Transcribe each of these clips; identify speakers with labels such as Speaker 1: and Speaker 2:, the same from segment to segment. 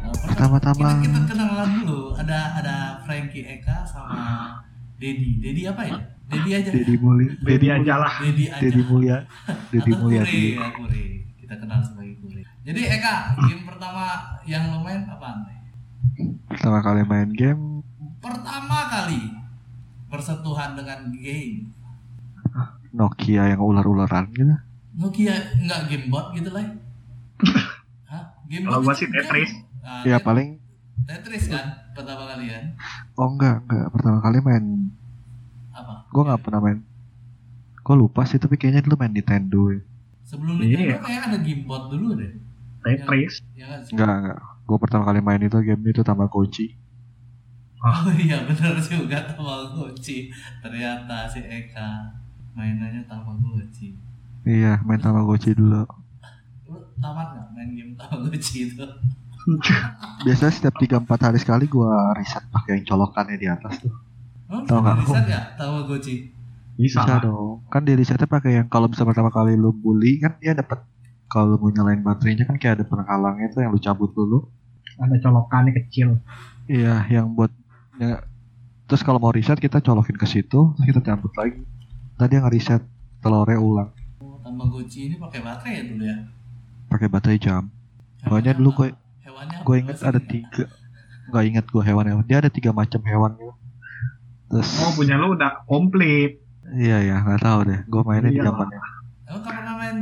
Speaker 1: Kita,
Speaker 2: pertama-tama
Speaker 1: kita kenalan dulu. Ada ada Frankie Eka sama Dedi. Dedi apa ya? Dedi aja.
Speaker 2: Deddy Muli
Speaker 3: Dedi aja lah.
Speaker 1: Dedi aja.
Speaker 2: Deddy Mulya Deddy
Speaker 1: Atau
Speaker 2: Mulya
Speaker 1: Kure, ya, Kure. Kita kenal sebagai Kure. Jadi Eka, game pertama yang lo main apaan?
Speaker 2: pertama kali main game
Speaker 1: Pertama kali bersentuhan dengan game.
Speaker 2: Nokia yang ular-ularan gitu
Speaker 1: Nokia nggak game bot gitu lah. Hah? Game
Speaker 3: Kalau
Speaker 1: bot
Speaker 3: gua
Speaker 1: itu
Speaker 3: sih Tetris. Iya,
Speaker 1: game. Ah,
Speaker 2: ya
Speaker 1: Tet-
Speaker 2: paling
Speaker 1: Tetris kan pertama kali kan?
Speaker 2: oh enggak enggak pertama kali main
Speaker 1: Apa?
Speaker 2: gue nggak pernah main gue lupa sih tapi kayaknya dulu main Nintendo ya
Speaker 1: Sebelum
Speaker 3: Iya.
Speaker 1: Nintendo kayak ada game bot dulu deh.
Speaker 3: Tetris.
Speaker 1: Ya kan? sih?
Speaker 2: enggak enggak gue pertama kali main itu game itu Tamagotchi
Speaker 1: Oh iya benar juga Tamagotchi. Ternyata si Eka mainannya Tamagotchi.
Speaker 2: iya main Tamagotchi dulu
Speaker 1: Lu tamat nggak main game Tamagotchi itu?
Speaker 2: biasanya setiap 3-4 hari sekali gue reset pakai yang colokannya di atas tuh
Speaker 1: Lu
Speaker 2: Tahu nggak?
Speaker 1: bisa nggak Tamagotchi?
Speaker 3: Bisa.
Speaker 2: bisa
Speaker 3: lah.
Speaker 2: dong kan di resetnya pakai yang kalau bisa pertama kali lu bully kan dia dapat kalau lu mau nyalain baterainya kan kayak ada penghalangnya tuh yang lu cabut dulu
Speaker 3: Ada colokannya kecil.
Speaker 2: iya yang buat ya. terus kalau mau reset kita colokin ke situ terus kita cabut lagi tadi yang reset telurnya ulang
Speaker 1: Oh, Tamagotchi ini pakai baterai ya dulu ya?
Speaker 2: pakai baterai jam Pokoknya dulu
Speaker 1: apa?
Speaker 2: gue-
Speaker 1: Hewannya apa
Speaker 2: gue inget
Speaker 1: sih?
Speaker 2: ada tiga nggak inget gue hewan hewan dia ada tiga macam hewan gitu. terus
Speaker 3: Oh punya lu udah komplit.
Speaker 2: iya ya nggak tahu deh gue mainnya di ya.
Speaker 3: Iya.
Speaker 2: zamannya
Speaker 1: Emang kapan pernah main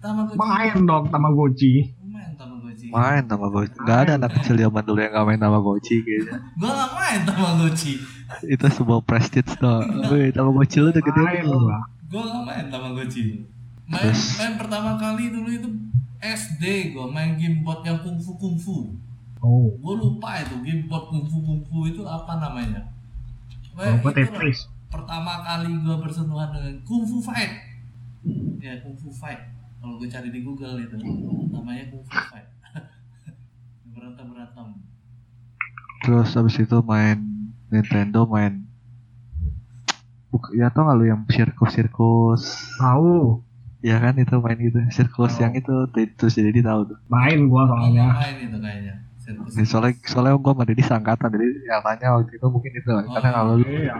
Speaker 1: Tamagotchi?
Speaker 3: Main dong Tamagotchi.
Speaker 1: Lu main Tamagotchi.
Speaker 2: main sama gue nggak ada anak kecil zaman dulu yang nggak main sama Gochi kayaknya
Speaker 1: Gua nggak main Tamagotchi.
Speaker 2: itu sebuah prestige tuh. Wih, tambah bocil lu udah gede.
Speaker 3: Main lu lah.
Speaker 1: Gua nggak main Tamagotchi. Main,
Speaker 2: Terus?
Speaker 1: main pertama kali dulu itu SD gua main game bot yang kungfu kungfu.
Speaker 3: Oh.
Speaker 1: Gua lupa itu game bot kungfu kungfu itu apa namanya.
Speaker 3: Kalau
Speaker 1: Wah,
Speaker 3: oh, gua
Speaker 1: itu lah.
Speaker 3: Tetris.
Speaker 1: pertama kali gua bersentuhan dengan kungfu fight. Ya kungfu fight. Kalau gua cari di Google itu namanya kungfu fight. berantem berantem.
Speaker 2: Terus abis itu main Nintendo main Buk- ya tau gak lu yang sirkus-sirkus
Speaker 3: Tahu.
Speaker 2: ya kan itu main gitu sirkus
Speaker 3: Tahu.
Speaker 2: yang itu T- terus jadi dia tahu tuh
Speaker 3: Main gua soalnya.
Speaker 1: main itu kayaknya. Sirkus.
Speaker 2: Jadi soalnya soalnya gue sama Deddy sangkatan jadi yang tanya waktu itu mungkin itu karena
Speaker 1: iya.
Speaker 2: kalau lu
Speaker 3: Iya.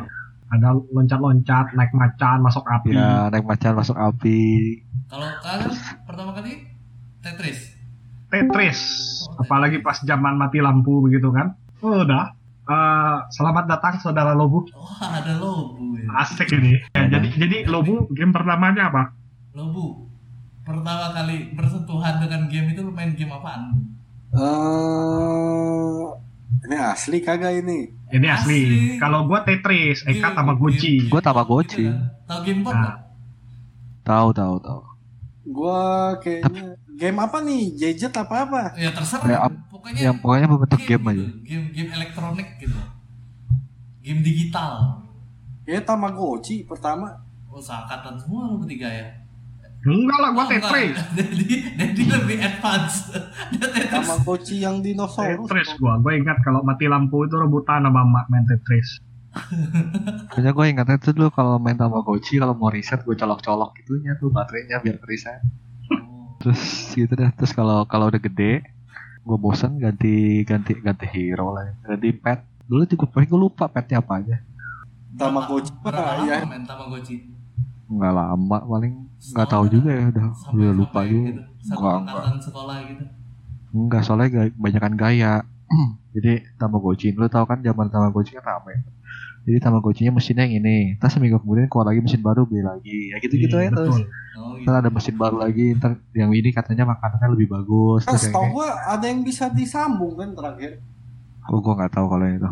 Speaker 3: Ada loncat-loncat, naik macan, masuk api.
Speaker 2: ya naik macan masuk api
Speaker 1: Kalau kalian pertama kali Tetris.
Speaker 3: Tetris. Apalagi pas zaman mati lampu begitu kan. Udah. Eh, selamat datang saudara Lobu.
Speaker 1: Wah ada lobu ya.
Speaker 3: Asik ini.
Speaker 2: Iya,
Speaker 3: Ya, jadi jadi Lobu game pertamanya apa?
Speaker 1: Lobu. Pertama kali bersentuhan dengan game itu lu main game apaan?
Speaker 4: Eh, ini asli kagak ini?
Speaker 3: Ini asli.
Speaker 1: Asli.
Speaker 3: Kalau gua Tetris, Eka
Speaker 1: Game- game-
Speaker 3: Tamagotchi.
Speaker 1: game
Speaker 2: Gua Tamagotchi.
Speaker 1: gitu kan. Tahu game bot
Speaker 3: Nah.
Speaker 1: nggak?
Speaker 2: tahu tahu tahu
Speaker 4: Gua kayaknya game apa nih? Gadget apa apa?
Speaker 1: Ya terserah.
Speaker 2: Ya, ap-
Speaker 1: pokoknya
Speaker 2: yang pokoknya pembentuk game
Speaker 1: gitu.
Speaker 2: aja
Speaker 1: Game game elektronik gitu. Game digital.
Speaker 4: Ya Tamagotchi pertama.
Speaker 1: Oh, seangkatan semua lu bertiga ya.
Speaker 3: Enggak lah, gua
Speaker 1: Oh, enggak.
Speaker 3: Tetris.
Speaker 1: Jadi jadi lebih advance. Dia Tetris.
Speaker 4: Tamagotchi yang dinosaurus.
Speaker 3: Tetris gua. Gua ingat kalau mati lampu itu rebutan sama emak main Tetris.
Speaker 2: pokoknya gue ingatnya tuh dulu kalau main Tamagotchi kalau mau riset gue colok-colok gitunya tuh baterainya biar riset
Speaker 1: Oh,
Speaker 2: terus gitu dah terus kalau kalau udah gede gue bosen ganti ganti ganti hero lah ganti pet dulu tiga pokoknya gue lupa petnya apa aja
Speaker 4: Tamagotchi.
Speaker 1: berapa- berapa lama
Speaker 4: Ya.
Speaker 1: main Tamagotchi?
Speaker 2: nggak lama paling nggak tahu juga ya udah
Speaker 1: Sampai-
Speaker 2: udah lupa
Speaker 1: sampai gitu.
Speaker 2: juga
Speaker 1: Satu
Speaker 2: Gua-
Speaker 1: angkatan sekolah gitu.
Speaker 2: nggak soalnya gaya- kebanyakan gaya jadi tamagotchi lu tau kan zaman tamagotchi kan rame jadi tamagotchinya mesinnya yang ini terus seminggu kemudian keluar lagi mesin baru beli lagi ya gitu gitu ya
Speaker 3: Iya,
Speaker 2: terus
Speaker 3: betul.
Speaker 1: Oh, gitu.
Speaker 2: ntar ada mesin baru lagi ntar yang ini katanya makanannya lebih bagus
Speaker 4: Nah,
Speaker 2: terus yang
Speaker 4: setahu
Speaker 2: ini
Speaker 4: gua ada yang bisa disambung kan terakhir.
Speaker 2: oh, gue nggak tahu kalau yang itu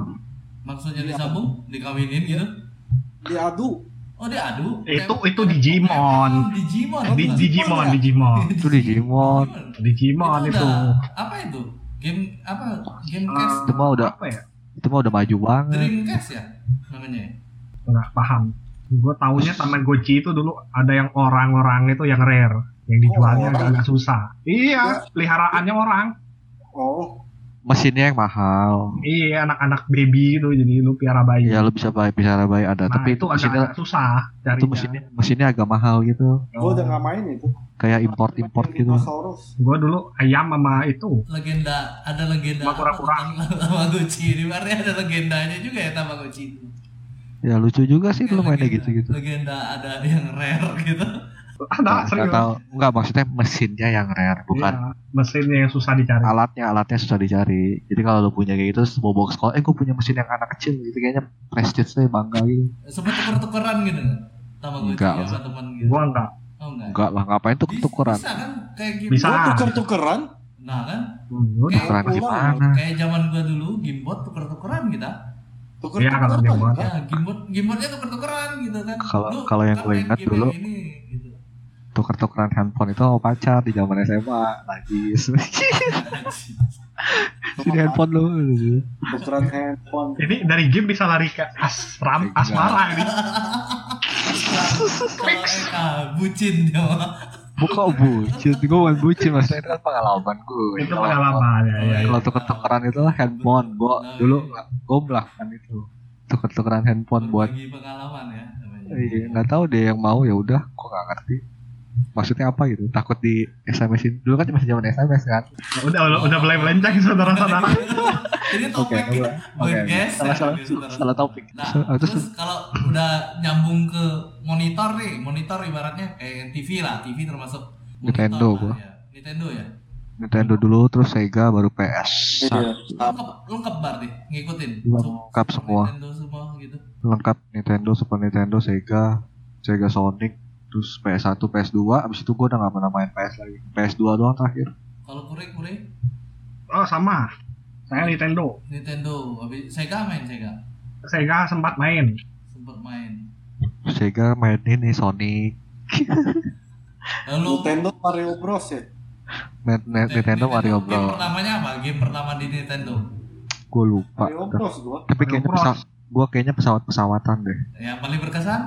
Speaker 1: Maksudnya disambung, dikawinin gitu.
Speaker 4: Diadu.
Speaker 1: Oh diadu.
Speaker 3: Itu
Speaker 1: Kayak-
Speaker 3: itu Digimon.
Speaker 1: Oh, Digimon.
Speaker 3: Di,
Speaker 1: bukan?
Speaker 3: Digimon, Digimon.
Speaker 2: itu Digimon
Speaker 3: Digimon itu.
Speaker 1: udah- Apa itu? Game apa? Game
Speaker 3: Eh,
Speaker 1: cast
Speaker 2: Itu mah udah-
Speaker 3: apa ya?
Speaker 2: itu mah udah maju banget
Speaker 1: Dreamcast ya namanya. ya?
Speaker 3: Nggak paham. Gue taunya Tamagotchi itu dulu ada yang orang-orang itu yang rare. Yang dijualnya
Speaker 4: Oh, orang.
Speaker 3: agak susah. Iya, peliharaannya orang.
Speaker 4: Oh,
Speaker 2: mesinnya yang mahal
Speaker 3: Iya anak-anak baby gitu jadi lu piara bayi.
Speaker 2: ya lu bisa bayi bisa bayi ada
Speaker 3: nah,
Speaker 2: tapi itu
Speaker 3: itu agak
Speaker 2: mesinnya
Speaker 3: susah carinya. Oh.
Speaker 2: itu mesinnya mesinnya agak mahal gitu
Speaker 4: Gue udah nggak main itu.
Speaker 2: kayak import import gitu
Speaker 4: Dinosaurus.
Speaker 3: Gua dulu ayam sama itu
Speaker 1: legenda ada legenda
Speaker 3: Sama kura-kura.
Speaker 1: apa tentang Tamagotchi ini artinya ada legendanya juga ya Tamagotchi itu
Speaker 2: ya lucu juga sih lu mainnya
Speaker 1: Legenda-
Speaker 2: gitu gitu
Speaker 1: legenda ada yang rare gitu
Speaker 3: ada Nah,
Speaker 2: Nah,
Speaker 3: serius.
Speaker 2: nggak tahu nggak maksudnya mesinnya yang rare bukan
Speaker 3: Iya, mesinnya yang susah dicari.
Speaker 2: alatnya alatnya susah dicari jadi kalau lu punya kayak gitu terus bawa bawa ke sekolah eh gue punya mesin yang anak kecil gitu kayaknya prestige nya bangga gitu
Speaker 1: sempet tuker-tukeran gitu Tamagotchi
Speaker 2: Enggak
Speaker 1: sama
Speaker 2: lah.
Speaker 1: teman gitu
Speaker 3: Gua enggak.
Speaker 1: oh enggak
Speaker 2: enggak lah ngapain tuh
Speaker 1: Bis-
Speaker 2: tukeran
Speaker 1: bisa kan kayak game
Speaker 3: Bisa.
Speaker 4: Gue Oh, tuker-tukeran.
Speaker 1: nah kan
Speaker 3: Hmm, gua-
Speaker 1: Kayak-
Speaker 2: tukeran
Speaker 4: Ulang.
Speaker 2: gimana
Speaker 1: kayak zaman gua dulu gimbot tuker-tukeran kita
Speaker 4: Tuker-tukeran. kan?
Speaker 3: Iya kalau dia buat.
Speaker 1: ya gimbot gimbotnya tuker-tukeran gitu kan
Speaker 2: Kalau-
Speaker 1: Lu
Speaker 2: kalau yang
Speaker 1: ntar
Speaker 2: gua
Speaker 1: main
Speaker 2: ingat
Speaker 1: game
Speaker 2: dulu-
Speaker 1: yang ini, gitu.
Speaker 2: tuker tukeran handphone itu sama pacar di zaman SMA najis ini handphone lu
Speaker 4: Tukeran handphone.
Speaker 3: Ini dari game bisa lari ke asram
Speaker 2: Enggak.
Speaker 3: asmara ini.
Speaker 1: kalau eh, bucin dia mah.
Speaker 2: buka oh, bucin gue bukan bucin maksudnya itu kan pengalaman gue
Speaker 3: itu pengalaman ya. ya, ya.
Speaker 2: kalau tuker tukeran itu lah handphone gue dulu gue melakukan itu tuker tukeran handphone buat
Speaker 1: Berbagi pengalaman ya namanya.
Speaker 2: Iya, nggak tahu deh yang mau ya udah, kok nggak ngerti. Maksudnya apa gitu? Takut di SMS-in. Dulu kan masih zaman SMS kan.
Speaker 3: Udah udah, udah mulai melenceng saudara-saudara.
Speaker 1: Ini
Speaker 2: Oke,
Speaker 1: topik
Speaker 2: oke, oke.
Speaker 1: buat guys.
Speaker 2: Salah salah salah topik.
Speaker 1: Nah,
Speaker 2: So- ah,
Speaker 1: terus,
Speaker 2: terus
Speaker 1: kalau udah nyambung ke monitor nih, monitor ibaratnya kayak TV lah, TV termasuk monitor
Speaker 2: Nintendo
Speaker 1: lah,
Speaker 2: gua.
Speaker 1: ya. Nintendo ya.
Speaker 2: Nintendo dulu, terus Sega, baru PS.
Speaker 4: Iya.
Speaker 1: Lengkap, lengkap bar deh, ngikutin.
Speaker 2: Lengkap semua.
Speaker 1: Nintendo semua gitu.
Speaker 2: Lengkap Nintendo, Super Nintendo, Sega, Sega Sonic, terus PS1, PS2. Abis itu gua udah nggak pernah main PS lagi. PS2 doang terakhir.
Speaker 1: Kalau kure kure
Speaker 3: Oh sama. Saya Nintendo.
Speaker 1: Nintendo, habis Sega main Sega,
Speaker 3: Sega sempat main.
Speaker 1: sempet main.
Speaker 2: Sega main ini Sonic.
Speaker 1: Lalu
Speaker 4: Nintendo Mario Bros ya.
Speaker 2: Main, main Nintendo Mario
Speaker 1: Game
Speaker 2: Bros.
Speaker 1: pertamanya apa? Game pertama di Nintendo.
Speaker 2: Gue lupa.
Speaker 4: Mario Bros gue.
Speaker 2: Tapi
Speaker 3: Mario
Speaker 2: kayaknya
Speaker 3: Bros.
Speaker 2: pesawat, gua kayaknya pesawat-pesawatan deh.
Speaker 1: Yang paling berkesan?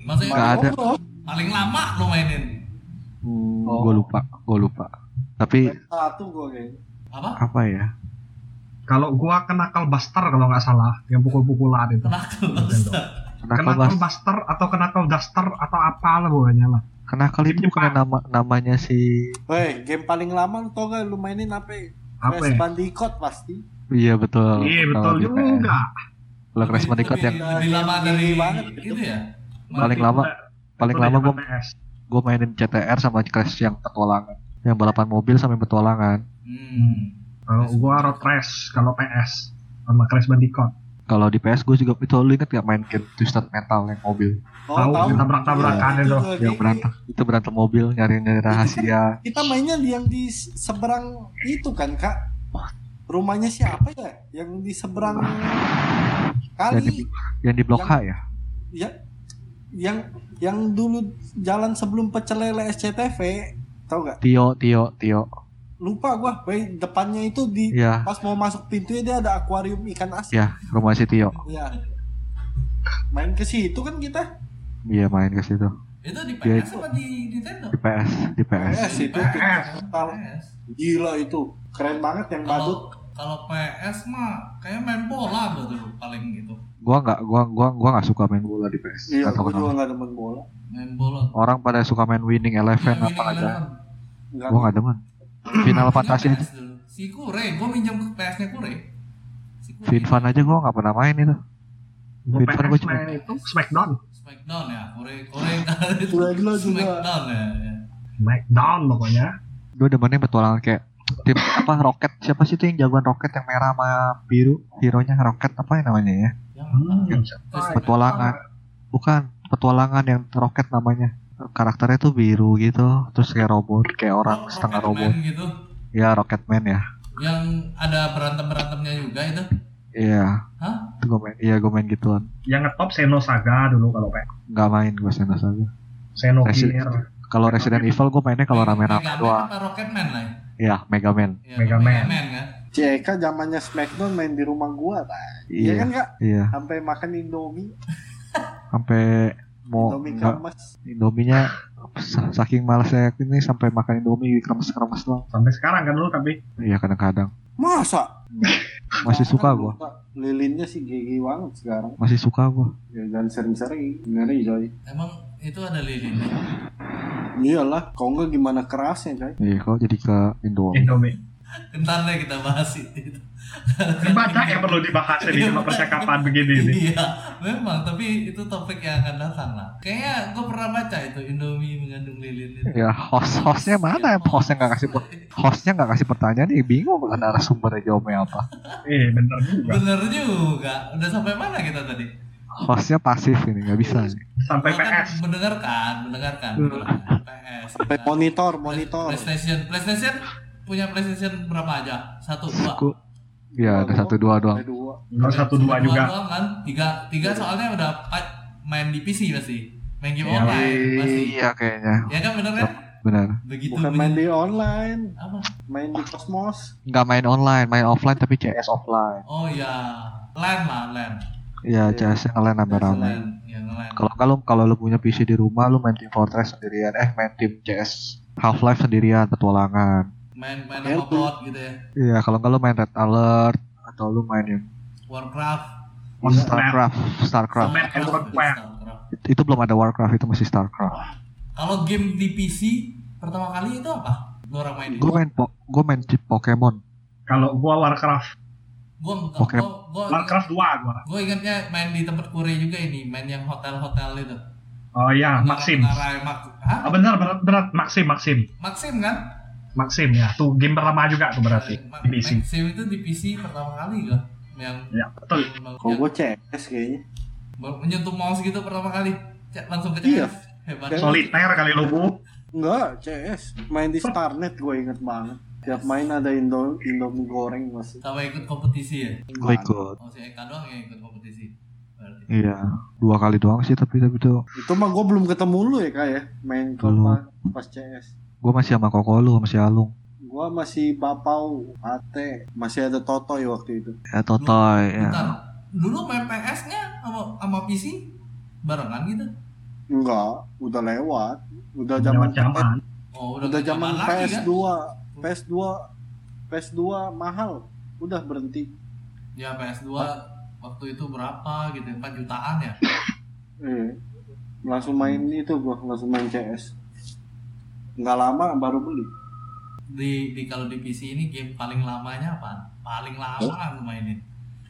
Speaker 1: Maksudnya
Speaker 2: Nggak ada.
Speaker 4: Bros.
Speaker 1: paling lama lo mainin
Speaker 2: Hmm,
Speaker 4: Oh.
Speaker 2: Gue lupa, gue lupa. Tapi
Speaker 4: Satu gue kayaknya.
Speaker 1: apa?
Speaker 2: apa ya?
Speaker 3: Kalau gua kenakal Buster kalau nggak salah yang pukul-pukulan itu.
Speaker 1: Kenakal
Speaker 2: Kenakal
Speaker 3: Kenakal
Speaker 2: bas,
Speaker 3: Buster atau kenakal Duster atau apa lah pokoknya lah.
Speaker 2: kenakal itu bukan
Speaker 3: Jepang.
Speaker 2: nama namanya si.
Speaker 4: Weh, game paling lama lu tau gak lu mainin apa ya?
Speaker 3: Apa
Speaker 4: Crash
Speaker 3: ya?
Speaker 4: Bandicoot pasti.
Speaker 2: Iya betul.
Speaker 3: Iya betul
Speaker 2: Kenakal di PS.
Speaker 3: juga.
Speaker 2: Kalau Crash Bandicoot
Speaker 1: lebih,
Speaker 2: yang
Speaker 1: lebih lama dari
Speaker 4: Ini banget.
Speaker 1: itu ya.
Speaker 2: Paling lama- paling
Speaker 3: Betul,
Speaker 2: lama
Speaker 3: zaman
Speaker 2: gue
Speaker 3: PS.
Speaker 2: gue mainin CTR sama Crash yang petualangan, yang balapan mobil sampai petualangan.
Speaker 1: Hmm.
Speaker 3: Kalau gua Road Rash, kalau PS sama Crash Bandicoot.
Speaker 2: Kalau di PS gue juga itu lu inget gak main game Twisted Metal yang mobil
Speaker 3: Tahu, tabrak-tabrakan
Speaker 4: Iya,
Speaker 3: itu.
Speaker 4: juga
Speaker 2: yang
Speaker 4: gini.
Speaker 2: berantem itu berantem mobil nyari nyari rahasia
Speaker 4: Kita mainnya di yang di seberang itu kan kak. Rumahnya siapa ya? Yang di seberang
Speaker 2: Yang
Speaker 4: kali
Speaker 2: di- yang di blok H ya
Speaker 4: ya yang yang dulu jalan sebelum pecel lele SCTV tau gak
Speaker 2: Tio Tio Tio
Speaker 4: lupa gua weh, depannya itu di
Speaker 2: ya
Speaker 4: pas mau masuk pintunya dia ada akuarium ikan asin
Speaker 2: ya rumah si Tio
Speaker 4: ya main ke situ kan kita
Speaker 2: iya main ke situ
Speaker 1: Itu di PS
Speaker 2: Ya,
Speaker 1: apa di Nintendo?
Speaker 2: di PS di PS
Speaker 4: PS itu
Speaker 3: PS.
Speaker 4: total
Speaker 1: PS.
Speaker 4: gila itu keren banget yang badut
Speaker 1: Kalau kalau PS mah kayak main bola gua dulu paling gitu.
Speaker 2: gua nggak gua gua gua nggak suka main bola di PS
Speaker 4: Iya,
Speaker 2: Nggak tahu
Speaker 4: gue
Speaker 2: kenapa.
Speaker 4: juga gak demen bola.
Speaker 1: Main bola.
Speaker 2: orang pada suka main winning eleven
Speaker 1: Main
Speaker 2: apa aja
Speaker 1: Eleven.
Speaker 4: Enggak.
Speaker 2: gua nggak demen final
Speaker 1: Punya
Speaker 2: fantasi
Speaker 1: PS dulu. Si Kure, gua minjem ke PS-nya Kure. Si Kure.
Speaker 2: Vinfan aja gua nggak pernah main itu
Speaker 3: Gua
Speaker 2: Vinfan
Speaker 3: PS
Speaker 2: gua cuma
Speaker 3: main itu Smackdown.
Speaker 1: Smackdown ya, Kure. Kure kan.
Speaker 4: Kure dulu juga.
Speaker 1: Smackdown ya. ya.
Speaker 3: Smackdown pokoknya.
Speaker 2: gua demennya petualangan kayak tim apa roket siapa sih itu yang jagoan roket yang merah sama biru hero nya roket apa ya namanya ya
Speaker 1: Yang
Speaker 3: Hmm,
Speaker 1: apa?
Speaker 3: siapa ya?
Speaker 2: petualangan bukan petualangan yang roket namanya karakternya tuh biru gitu terus kayak robot kayak orang
Speaker 1: Rocket
Speaker 2: setengah
Speaker 1: Man
Speaker 2: robot
Speaker 1: gitu.
Speaker 2: ya Rocketman ya
Speaker 1: Yang ada berantem-berantemnya juga itu.
Speaker 2: iya
Speaker 1: Hah?
Speaker 2: itu gua main iya gua main gituan
Speaker 3: Yang ngetop Seno Saga dulu kalau PS.
Speaker 2: nggak main gua sana saja
Speaker 3: Seno
Speaker 2: Resident-
Speaker 3: Gear.
Speaker 2: kalau Resident Evil gue mainnya kalau rame-rame
Speaker 1: Mega Man
Speaker 2: doang
Speaker 1: apa Rocketman lah.
Speaker 2: ya Mega Man
Speaker 1: Ya,
Speaker 3: Mega Man.
Speaker 1: kan.
Speaker 4: Si Eka zamannya Smackdown main di rumah gua, Pak. Iya
Speaker 2: iya
Speaker 4: kan, Kak?
Speaker 2: iya
Speaker 4: Sampai makan Indomie,
Speaker 2: sampai mau
Speaker 4: Indomie
Speaker 2: Oh, nggak
Speaker 4: kremes.
Speaker 2: Indominya sa- saking malasnya ini sampai makan Indomie kremes-kremes doang.
Speaker 3: Sampai sekarang kan lu tapi
Speaker 2: Iya kadang-kadang.
Speaker 4: Masa?
Speaker 2: Masih suka gua.
Speaker 4: Lilinnya sih GG banget sekarang.
Speaker 2: Masih suka gua.
Speaker 4: Ya jangan sering-sering. Ngeri coy.
Speaker 1: Emang itu ada lilin.
Speaker 4: Iyalah, kalau enggak gimana kerasnya coy.
Speaker 2: Iya kok jadi ke Indomie.
Speaker 3: Indomie.
Speaker 1: Ntar deh kita bahas itu.
Speaker 3: Kan Banyak yang perlu dibahas ini cuma percakapan begini ini.
Speaker 1: Iya, memang. Tapi itu topik yang akan datang lah. Kayaknya gue pernah baca itu Indomie mengandung lilin itu. Iya.
Speaker 2: Ya host hostnya mana? Hostnya nggak kasih per- hostnya nggak kasih pertanyaan nih bingung kan arah sumbernya jawabnya apa.
Speaker 3: Eh bener juga.
Speaker 1: Bener juga. Udah sampai mana kita tadi?
Speaker 2: Hostnya pasif ini nggak bisa. nih.
Speaker 3: Sampai
Speaker 1: Gua kan
Speaker 3: PS.
Speaker 1: Mendengarkan, mendengarkan.
Speaker 3: Hmm.
Speaker 1: mendengarkan. PS.
Speaker 4: Sampai monitor, monitor.
Speaker 1: PlayStation, PlayStation punya PlayStation berapa aja? Satu, dua.
Speaker 2: Gua- Ya ada satu dua doang.
Speaker 4: Ada dua.
Speaker 3: Enggak satu dua
Speaker 1: Satu,
Speaker 3: juga.
Speaker 1: doang kan? Tiga, tiga soalnya udah pa- main di PC pasti. Main game
Speaker 3: Iya.
Speaker 1: online pasti.
Speaker 2: Iya kayaknya
Speaker 1: Ya kan bener kan?
Speaker 2: benar.
Speaker 1: Begitu
Speaker 4: Bukan main di online,
Speaker 1: apa?
Speaker 4: main di Cosmos.
Speaker 2: Nggak main online, main offline tapi CS offline.
Speaker 1: Oh ya, LAN lah, LAN.
Speaker 2: Iya CS yang lain rame-rame.
Speaker 1: LAN, yang LAN.
Speaker 2: Kalau kalau kalau lu punya PC di rumah, lu main Team Fortress sendirian, eh main tim CS Half Life sendirian, petualangan.
Speaker 1: Main main
Speaker 4: Iya,
Speaker 1: apa
Speaker 4: tuh.
Speaker 1: bot gitu ya.
Speaker 2: Iya, kalau nggak lu main Red Alert atau lu main yang
Speaker 1: Warcraft.
Speaker 3: Monster
Speaker 2: Starcraft, Starcraft.
Speaker 3: Command and
Speaker 1: Starcraft,
Speaker 3: Conquer.
Speaker 1: Starcraft.
Speaker 2: It- Itu belum ada Warcraft, itu masih Starcraft.
Speaker 1: Kalau game di PC pertama kali itu apa? Lu orang main
Speaker 2: Gue main po gue main chip Pokemon.
Speaker 3: Kalau gua Warcraft,
Speaker 1: Gue
Speaker 2: Oke.
Speaker 1: gue gue
Speaker 3: Warcraft 2 gua.
Speaker 1: gue ingatnya main di tempat kure juga ini, main yang hotel-hotel itu.
Speaker 3: Oh iya, Maxim.
Speaker 1: Tentara- Mak- Hah?
Speaker 3: Ah benar berat berat Maxim Maxim.
Speaker 1: Maxim kan?
Speaker 3: Maxim ya. Tuh game pertama juga tuh berarti
Speaker 1: Ma-
Speaker 3: di PC.
Speaker 1: Maxim itu di PC pertama kali kan? Yang
Speaker 3: Ya, betul.
Speaker 4: Kalau gue CS kayaknya.
Speaker 1: Baru menyentuh mouse gitu pertama kali Cek, langsung ke
Speaker 4: Iya.
Speaker 1: CS hebat
Speaker 3: Solitaire kali lu Bu.
Speaker 4: Enggak, CS. Main di Starnet gue inget banget. Tiap main ada Indo Indomie goreng masih.
Speaker 1: sama ikut kompetisi ya
Speaker 2: Gue ikut.
Speaker 1: oh si Eka doang yang ikut kompetisi berarti
Speaker 2: Iya, dua kali doang sih tapi tapi tuh
Speaker 4: Nah, Itu mah gue belum ketemu lu ya kak ya. Main ke
Speaker 2: Belum.
Speaker 4: pas- pas CS.
Speaker 2: gue masih sama Koko lu, masih Alung.
Speaker 4: Gue masih Bapau, Ate, masih ada Totoy waktu itu.
Speaker 2: Ya Totoy. Ya.
Speaker 4: Iya.
Speaker 1: bentar dulu main PS nya sama, sama PC barengan gitu
Speaker 4: Enggak, udah lewat. Udah zaman
Speaker 3: Zaman-zaman.
Speaker 1: oh udah
Speaker 4: udah zaman
Speaker 1: kecaman lagi kan?
Speaker 4: PS2. PS2 PS2 mahal. Udah berhenti.
Speaker 1: kan ya PS2 waktu itu berapa gitu 4 jutaan ya
Speaker 4: Eh, langsung main itu gua langsung main CS. Nggak lama baru beli.
Speaker 1: di, di kalau di PC ini game paling lamanya apa paling lama kan lu mainin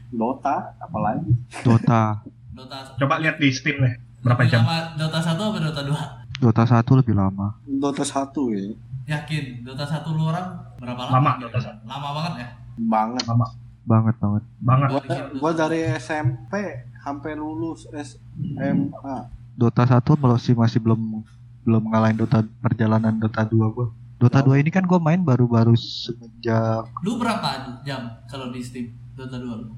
Speaker 4: Dota, apalagi.
Speaker 2: Dota.
Speaker 1: Dota
Speaker 3: Coba lihat di Steam deh. Berapa
Speaker 1: lebih
Speaker 3: jam?
Speaker 1: lama Dota 1 apa Dota 2
Speaker 2: Dota satu lebih lama.
Speaker 4: Dota 1 ya.
Speaker 1: yakin Dota 1 lu orang berapa
Speaker 3: Lama,
Speaker 1: lama
Speaker 3: Dota 1.
Speaker 1: lama banget ya
Speaker 4: Banget.
Speaker 3: Lama
Speaker 2: Banget banget.
Speaker 3: banget.
Speaker 4: Gua, gua dari SMP sampai lulus SMA.
Speaker 1: Hmm.
Speaker 2: Dota 1 masih masih belum belum ngalahin Dota perjalanan Dota 2 gua. Dota 2 ini kan gua main baru-baru semenjak
Speaker 1: Lu berapa jam kalau di Steam Dota 2 lu?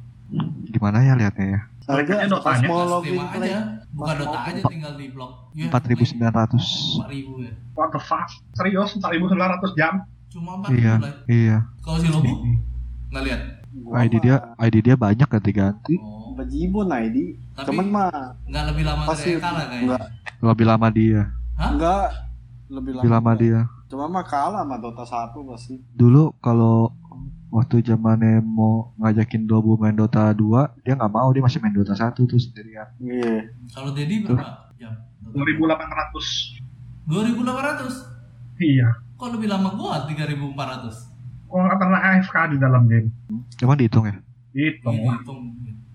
Speaker 2: gimana ya lihatnya ya?
Speaker 4: Harga
Speaker 3: Harganya Dotanya
Speaker 4: pas mau
Speaker 1: Pas
Speaker 4: login
Speaker 1: Steam
Speaker 4: play.
Speaker 1: aja, bukan
Speaker 4: Pas
Speaker 1: Dota
Speaker 4: login.
Speaker 1: aja tinggal di blog.
Speaker 2: 4900.
Speaker 1: 4000 ya.
Speaker 3: What the fuck? Serius 4900 jam?
Speaker 1: Cuma 4000
Speaker 2: Iya.
Speaker 1: lah.
Speaker 2: Iya.
Speaker 1: Kalau si Lobo nggak lihat.
Speaker 4: Gua
Speaker 2: ID
Speaker 4: mah
Speaker 2: Oh, dia ID dia banyak ganti ganti.
Speaker 1: Oh,
Speaker 4: bejibun ID.
Speaker 1: Tapi-
Speaker 4: Cuman mah
Speaker 1: nggak lebih lama
Speaker 4: pasti
Speaker 1: dari kalah kayaknya.
Speaker 4: enggak
Speaker 2: Lebih lama dia.
Speaker 4: enggak lebih lama.
Speaker 2: Lebih lama dia.
Speaker 4: Cuma mah kalah sama Dota 1 pasti.
Speaker 2: Dulu kalau waktu zamannya mau ngajakin Dobu main Dota 2, dia nggak mau, dia masih main Dota 1 tuh sendirian.
Speaker 4: Iya.
Speaker 1: Kalau Dedi berapa jam? Dota
Speaker 3: 2800.
Speaker 1: 2800.
Speaker 3: Iya.
Speaker 1: Kok lebih lama gua 3400?
Speaker 3: Gua nggak pernah AFK di dalam game.
Speaker 2: Cuman dihitung ya.
Speaker 1: Ini
Speaker 3: Hitung lah.
Speaker 1: dihitung.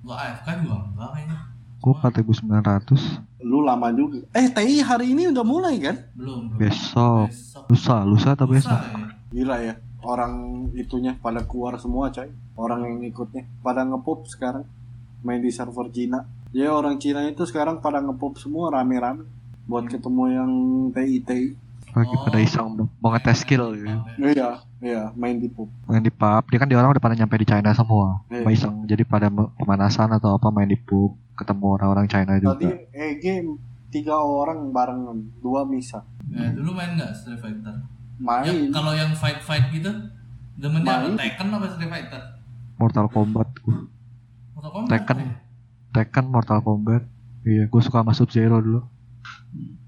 Speaker 1: Lu AFK juga enggak kayaknya.
Speaker 2: Gua 4900
Speaker 4: Lu lama juga. Eh, TI hari ini udah mulai kan?
Speaker 1: Belum, belum.
Speaker 2: besok.
Speaker 1: Besok.
Speaker 2: Lusa, lusa atau
Speaker 1: Lusa
Speaker 2: besok?
Speaker 1: ya?
Speaker 4: Gila ya, orang itunya pada keluar semua coy. Orang yang ikutnya pada ngepop sekarang main di server Cina. Ya orang Cina itu sekarang pada ngepop semua rame-rame buat
Speaker 2: Hmm.
Speaker 4: ketemu yang TI TI.
Speaker 2: Lagi
Speaker 4: Oh.
Speaker 2: pada iseng dong, mau ngetes skill gitu.
Speaker 4: Iya, iya, main di pop.
Speaker 2: main di pub dia kan di orang udah pada nyampe di China semua
Speaker 4: Iya.
Speaker 2: Sama iseng jadi pada me- pemanasan atau apa main di pub ketemu orang-orang China juga
Speaker 4: Tadi EG tiga orang barengan, dua misa.
Speaker 1: Ya, dulu main nggak Street Fighter? Ya,
Speaker 4: Main
Speaker 1: kalau yang fight fight gitu, demennya apa?
Speaker 4: Main.
Speaker 1: Tekken apa Street Fighter?
Speaker 2: Mortal Kombat gua.
Speaker 1: Mortal Kombat.
Speaker 2: Tekken.
Speaker 1: ya?
Speaker 2: Tekken Mortal Kombat iya gue suka masuk Zero dulu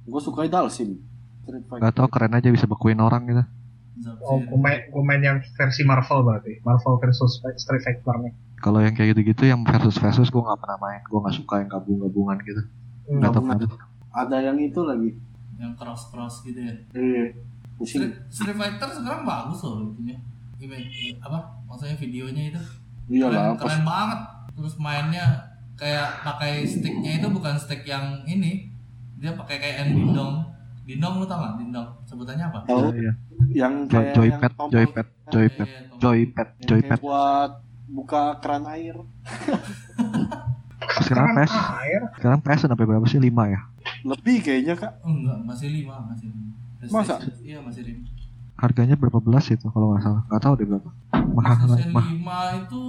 Speaker 4: gue suka Dalsim. Street Fighter.
Speaker 2: Gak tau keren aja bisa bekuin orang gitu.
Speaker 3: Oh, pemain pemain yang versi Marvel berarti. Marvel versus Street Fighter nih.
Speaker 2: Kalau yang kayak gitu-gitu yang versus versus gue nggak pernah main. Gue nggak suka yang gabung-gabungan gitu.
Speaker 3: Hmm.
Speaker 2: Gak tau
Speaker 4: Gabungan.
Speaker 2: kenapa.
Speaker 4: Ada yang itu lagi.
Speaker 1: yang cross cross gitu ya.
Speaker 4: Iya. Pusing.
Speaker 1: Street, Street Fighter sekarang bagus loh itunya. Ima- apa maksudnya videonya itu
Speaker 4: Iyalah,
Speaker 1: keren,
Speaker 4: Iya pas
Speaker 1: keren banget terus mainnya kayak pakai sticknya itu bukan stick yang ini dia pakai kayak dindong dindong lu tau gak dindong sebutannya apa
Speaker 4: tahu
Speaker 2: Iya,
Speaker 4: yang
Speaker 2: Jo-
Speaker 4: kayak
Speaker 2: Joypad,
Speaker 4: yang tombol-
Speaker 2: joypad, joypad,
Speaker 1: Iya, iya,
Speaker 2: joypad,
Speaker 4: yang kayak
Speaker 2: joypad.
Speaker 4: buat buka keran air.
Speaker 2: Sekarang
Speaker 3: Keren
Speaker 2: PS,
Speaker 3: air.
Speaker 2: sekarang PS sampai berapa sih? 5 ya.
Speaker 4: Lebih kayaknya, Kak.
Speaker 1: Oh, enggak masih lima masih lima
Speaker 4: Masa?
Speaker 1: PlayStation- iya masih lima
Speaker 2: Harganya berapa belas itu kalau nggak salah? Nggak tahu deh berapa. Mahal
Speaker 1: PlayStation
Speaker 2: mah.
Speaker 1: lima itu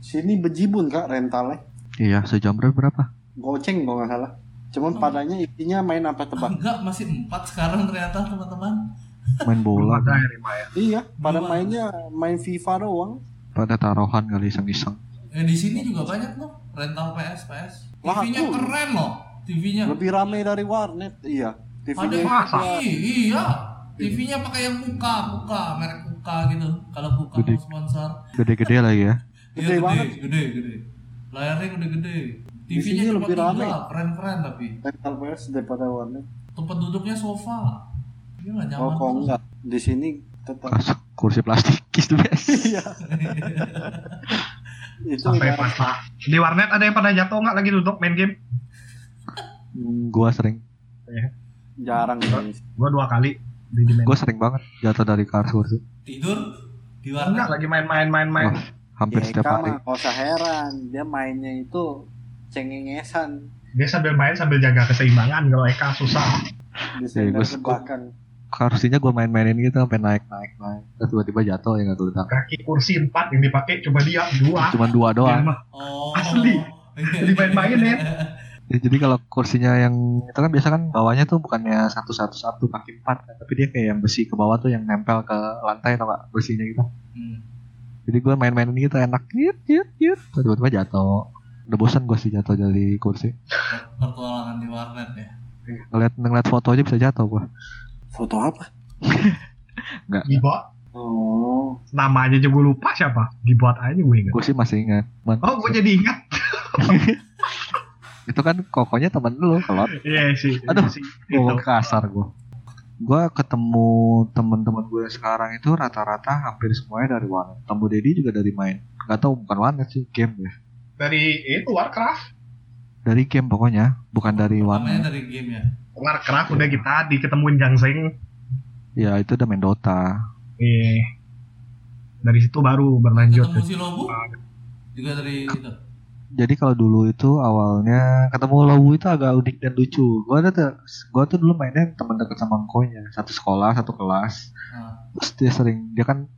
Speaker 4: Sini bejibun, Kak, rentalnya.
Speaker 2: Iya, sejam berapa? berapa?
Speaker 4: Goceng kalau nggak salah. Cuman
Speaker 1: Oh.
Speaker 4: padanya isinya main apa tebak?
Speaker 1: enggak masih empat sekarang ternyata teman-teman
Speaker 2: Main bola,
Speaker 3: Bola air lima ya.
Speaker 4: iya, pada
Speaker 1: Dua.
Speaker 4: mainnya main FIFA doang.
Speaker 2: pada taruhan kali iseng-iseng.
Speaker 1: eh, di sini juga banyak loh rental PS PS
Speaker 4: Wah,
Speaker 1: TV-nya
Speaker 4: aku-
Speaker 1: keren loh TV-nya
Speaker 4: Lebih rame dari warnet, iya.
Speaker 1: Ada
Speaker 4: TV-nya
Speaker 3: masa?
Speaker 1: TV, iya. TV-nya pakai yang Kuka, Kuka, merek Kuka gitu. Kalau Kuka
Speaker 2: Gede.
Speaker 1: mau sponsor,
Speaker 2: Gede-gede lagi ya.
Speaker 1: Iya,
Speaker 4: Gede banget.
Speaker 1: gede, gede. Layarnya gede-gede.
Speaker 4: Di
Speaker 1: TV-nya
Speaker 4: sini
Speaker 1: cuma
Speaker 4: lebih
Speaker 1: tiga,
Speaker 4: rame.
Speaker 1: keren-keren tapi.
Speaker 4: rental PS daripada warnet.
Speaker 1: Tempat duduknya sofa. Dia nggak nyaman.
Speaker 4: Oh, kok enggak? Di sini tetap.
Speaker 2: Kas, kursi plastik gitu biasa.
Speaker 4: Iya.
Speaker 2: Iya.
Speaker 4: Itu
Speaker 3: Sampai
Speaker 4: ibarat-
Speaker 3: patah. Di warnet ada yang pada jatuh nggak lagi duduk main game?
Speaker 2: Hmm, Gua sering,
Speaker 4: jarang guys.
Speaker 3: Gua dua kali di di main.
Speaker 2: gua sering banget jatuh dari kars kursi.
Speaker 1: Tidur di
Speaker 3: Enggak
Speaker 1: warnet.
Speaker 3: lagi main-main-main-main.
Speaker 2: Wah, hampir
Speaker 4: Ya,
Speaker 2: setiap
Speaker 4: Eka
Speaker 2: hari.
Speaker 4: mah nggak usah heran, dia mainnya itu cengengesan.
Speaker 3: Dia sambil main sambil jaga keseimbangan kalau Eka susah.
Speaker 2: Ya,
Speaker 4: Disender
Speaker 2: gua
Speaker 4: ke
Speaker 2: suka.
Speaker 4: belakang.
Speaker 2: Kursinya gua main-mainin gitu sampai naik, naik, naik. Terus tiba-tiba jatuh ya nggak kelihatan.
Speaker 3: Kaki kursi empat yang dipakai cuma dia dua.
Speaker 2: Cuman dua doang.
Speaker 3: Dan
Speaker 1: Oh.
Speaker 3: Asli. Dimain-mainin.
Speaker 2: Ya, jadi kalau kursinya yang itu kan biasa kan bawahnya tuh bukannya satu satu satu kaki empat, kan. tapi dia kayak yang besi ke bawah tuh yang nempel ke lantai atau nggak besinya gitu.
Speaker 1: Hmm.
Speaker 2: Jadi gue main-mainin gitu enak, yut yut yut, Terus tiba-tiba jatuh. Udah bosan gue sih jatuh dari kursi.
Speaker 1: Pertualangan di warnet ya.
Speaker 2: Ngeliat ngeliat foto aja bisa jatuh gue.
Speaker 4: Foto apa?
Speaker 3: dibuat
Speaker 4: Oh,
Speaker 3: namanya aja gue lupa siapa. Dibuat aja gue ingat.
Speaker 2: Gue sih masih ingat. Man,
Speaker 3: Oh, gue jadi ingat.
Speaker 2: itu kan kokonya temen lu kalau
Speaker 3: Iya sih.
Speaker 2: Aduh,
Speaker 3: si,
Speaker 2: ngomong
Speaker 3: itu.
Speaker 2: kasar gue. Gue ketemu teman-teman gue sekarang itu rata-rata hampir semuanya dari warnet. Temu Dedi juga dari main. Gak tau bukan warnet sih game ya.
Speaker 3: Dari itu Warcraft.
Speaker 2: Dari game pokoknya, bukan dari warnet.
Speaker 1: Namanya dari game ya.
Speaker 3: Warcraft udah gitu kita diketemuin Gangseng.
Speaker 2: Ya itu udah main Dota.
Speaker 3: Iya. Dari situ baru berlanjut.
Speaker 1: Ketemu si Lobu juga dari itu.
Speaker 2: Jadi kalau dulu itu awalnya ketemu Lowu itu agak unik dan lucu. Gue tuh, gua tuh dulu mainnya temen deket sama kokonya. Satu sekolah, satu kelas.
Speaker 1: Nah,
Speaker 2: Terus dia sering, dia kan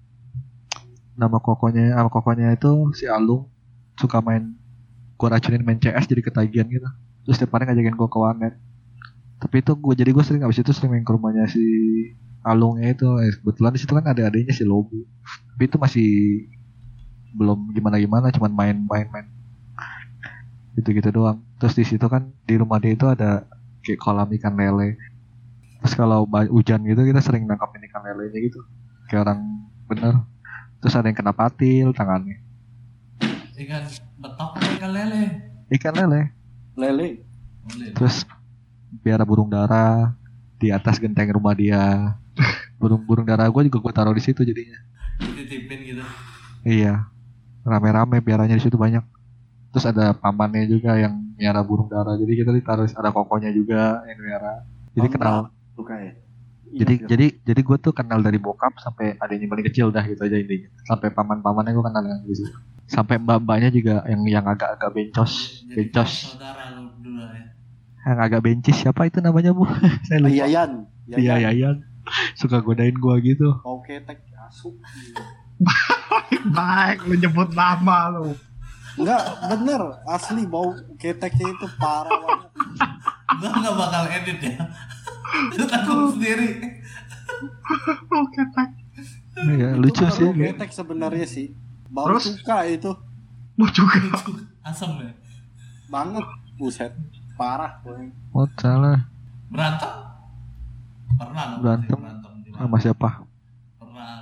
Speaker 2: nama kokonya, nama kokonya itu si Alung suka main gue racunin main CS jadi ketagihan gitu. Terus tiap hari ngajakin gue ke warnet. Tapi itu gue jadi gue sering abis itu sering main ke rumahnya si Alungnya itu. Eh, Kebetulan di situ kan ada adanya si Lobu. Tapi itu masih belum gimana-gimana, cuman main-main-main gitu-gitu doang. Terus di situ kan di rumah dia itu ada kayak kolam ikan lele. Terus kalau ba- hujan gitu kita sering nangkapin ikan lelenya gitu. Kayak orang bener. Terus ada yang kena patil tangannya.
Speaker 1: ikan betok atau ikan lele.
Speaker 2: Ikan lele.
Speaker 4: lele.
Speaker 1: Boleh.
Speaker 2: Terus biar burung dara di atas genteng rumah dia. Burung-burung dara gue juga gue taruh di situ jadinya.
Speaker 1: Dititipin gitu.
Speaker 2: Iya. Rame-rame biaranya di situ banyak. Terus ada pamannya juga yang miara burung dara. Jadi kita ditaruh ada kokonya juga yang miara. Jadi
Speaker 4: Paham
Speaker 2: kenal
Speaker 4: nggak? Suka ya.
Speaker 2: jadi
Speaker 4: Iya,
Speaker 2: jadi jadi gue tuh kenal dari bokap sampai adiknya paling kecil dah gitu aja intinya sampai paman pamannya gue kenal yang di situ sampai mbak mbaknya juga yang yang agak-agak bencos
Speaker 1: Jadi
Speaker 2: bencos
Speaker 1: saudara lu berdua ya.
Speaker 2: yang agak bencis siapa itu namanya bu saya
Speaker 4: Iya, iya.
Speaker 2: lupa
Speaker 4: Yayan.
Speaker 2: iya iya iya suka godain gue gitu
Speaker 4: Oke, tek asu.
Speaker 3: Baik, lu nyebut nama lu.
Speaker 4: Enggak, bener. Asli bau keteknya itu parah banget.
Speaker 1: Gua nggak bakal edit ya. Itu Aku sendiri.
Speaker 3: Oke, tak.
Speaker 2: Iya,
Speaker 4: Itu
Speaker 2: lucu
Speaker 4: baru
Speaker 2: sih
Speaker 4: Ketek sebenarnya sih. Bau
Speaker 3: Terus?
Speaker 4: suka itu
Speaker 3: Lu juga.
Speaker 1: Asem ya.
Speaker 4: banget. Buset, parah. boy.
Speaker 2: oh salah
Speaker 1: Berantem? pernah dong
Speaker 2: Berantem.
Speaker 1: sih, berantem di mana.
Speaker 2: sama siapa
Speaker 1: pernah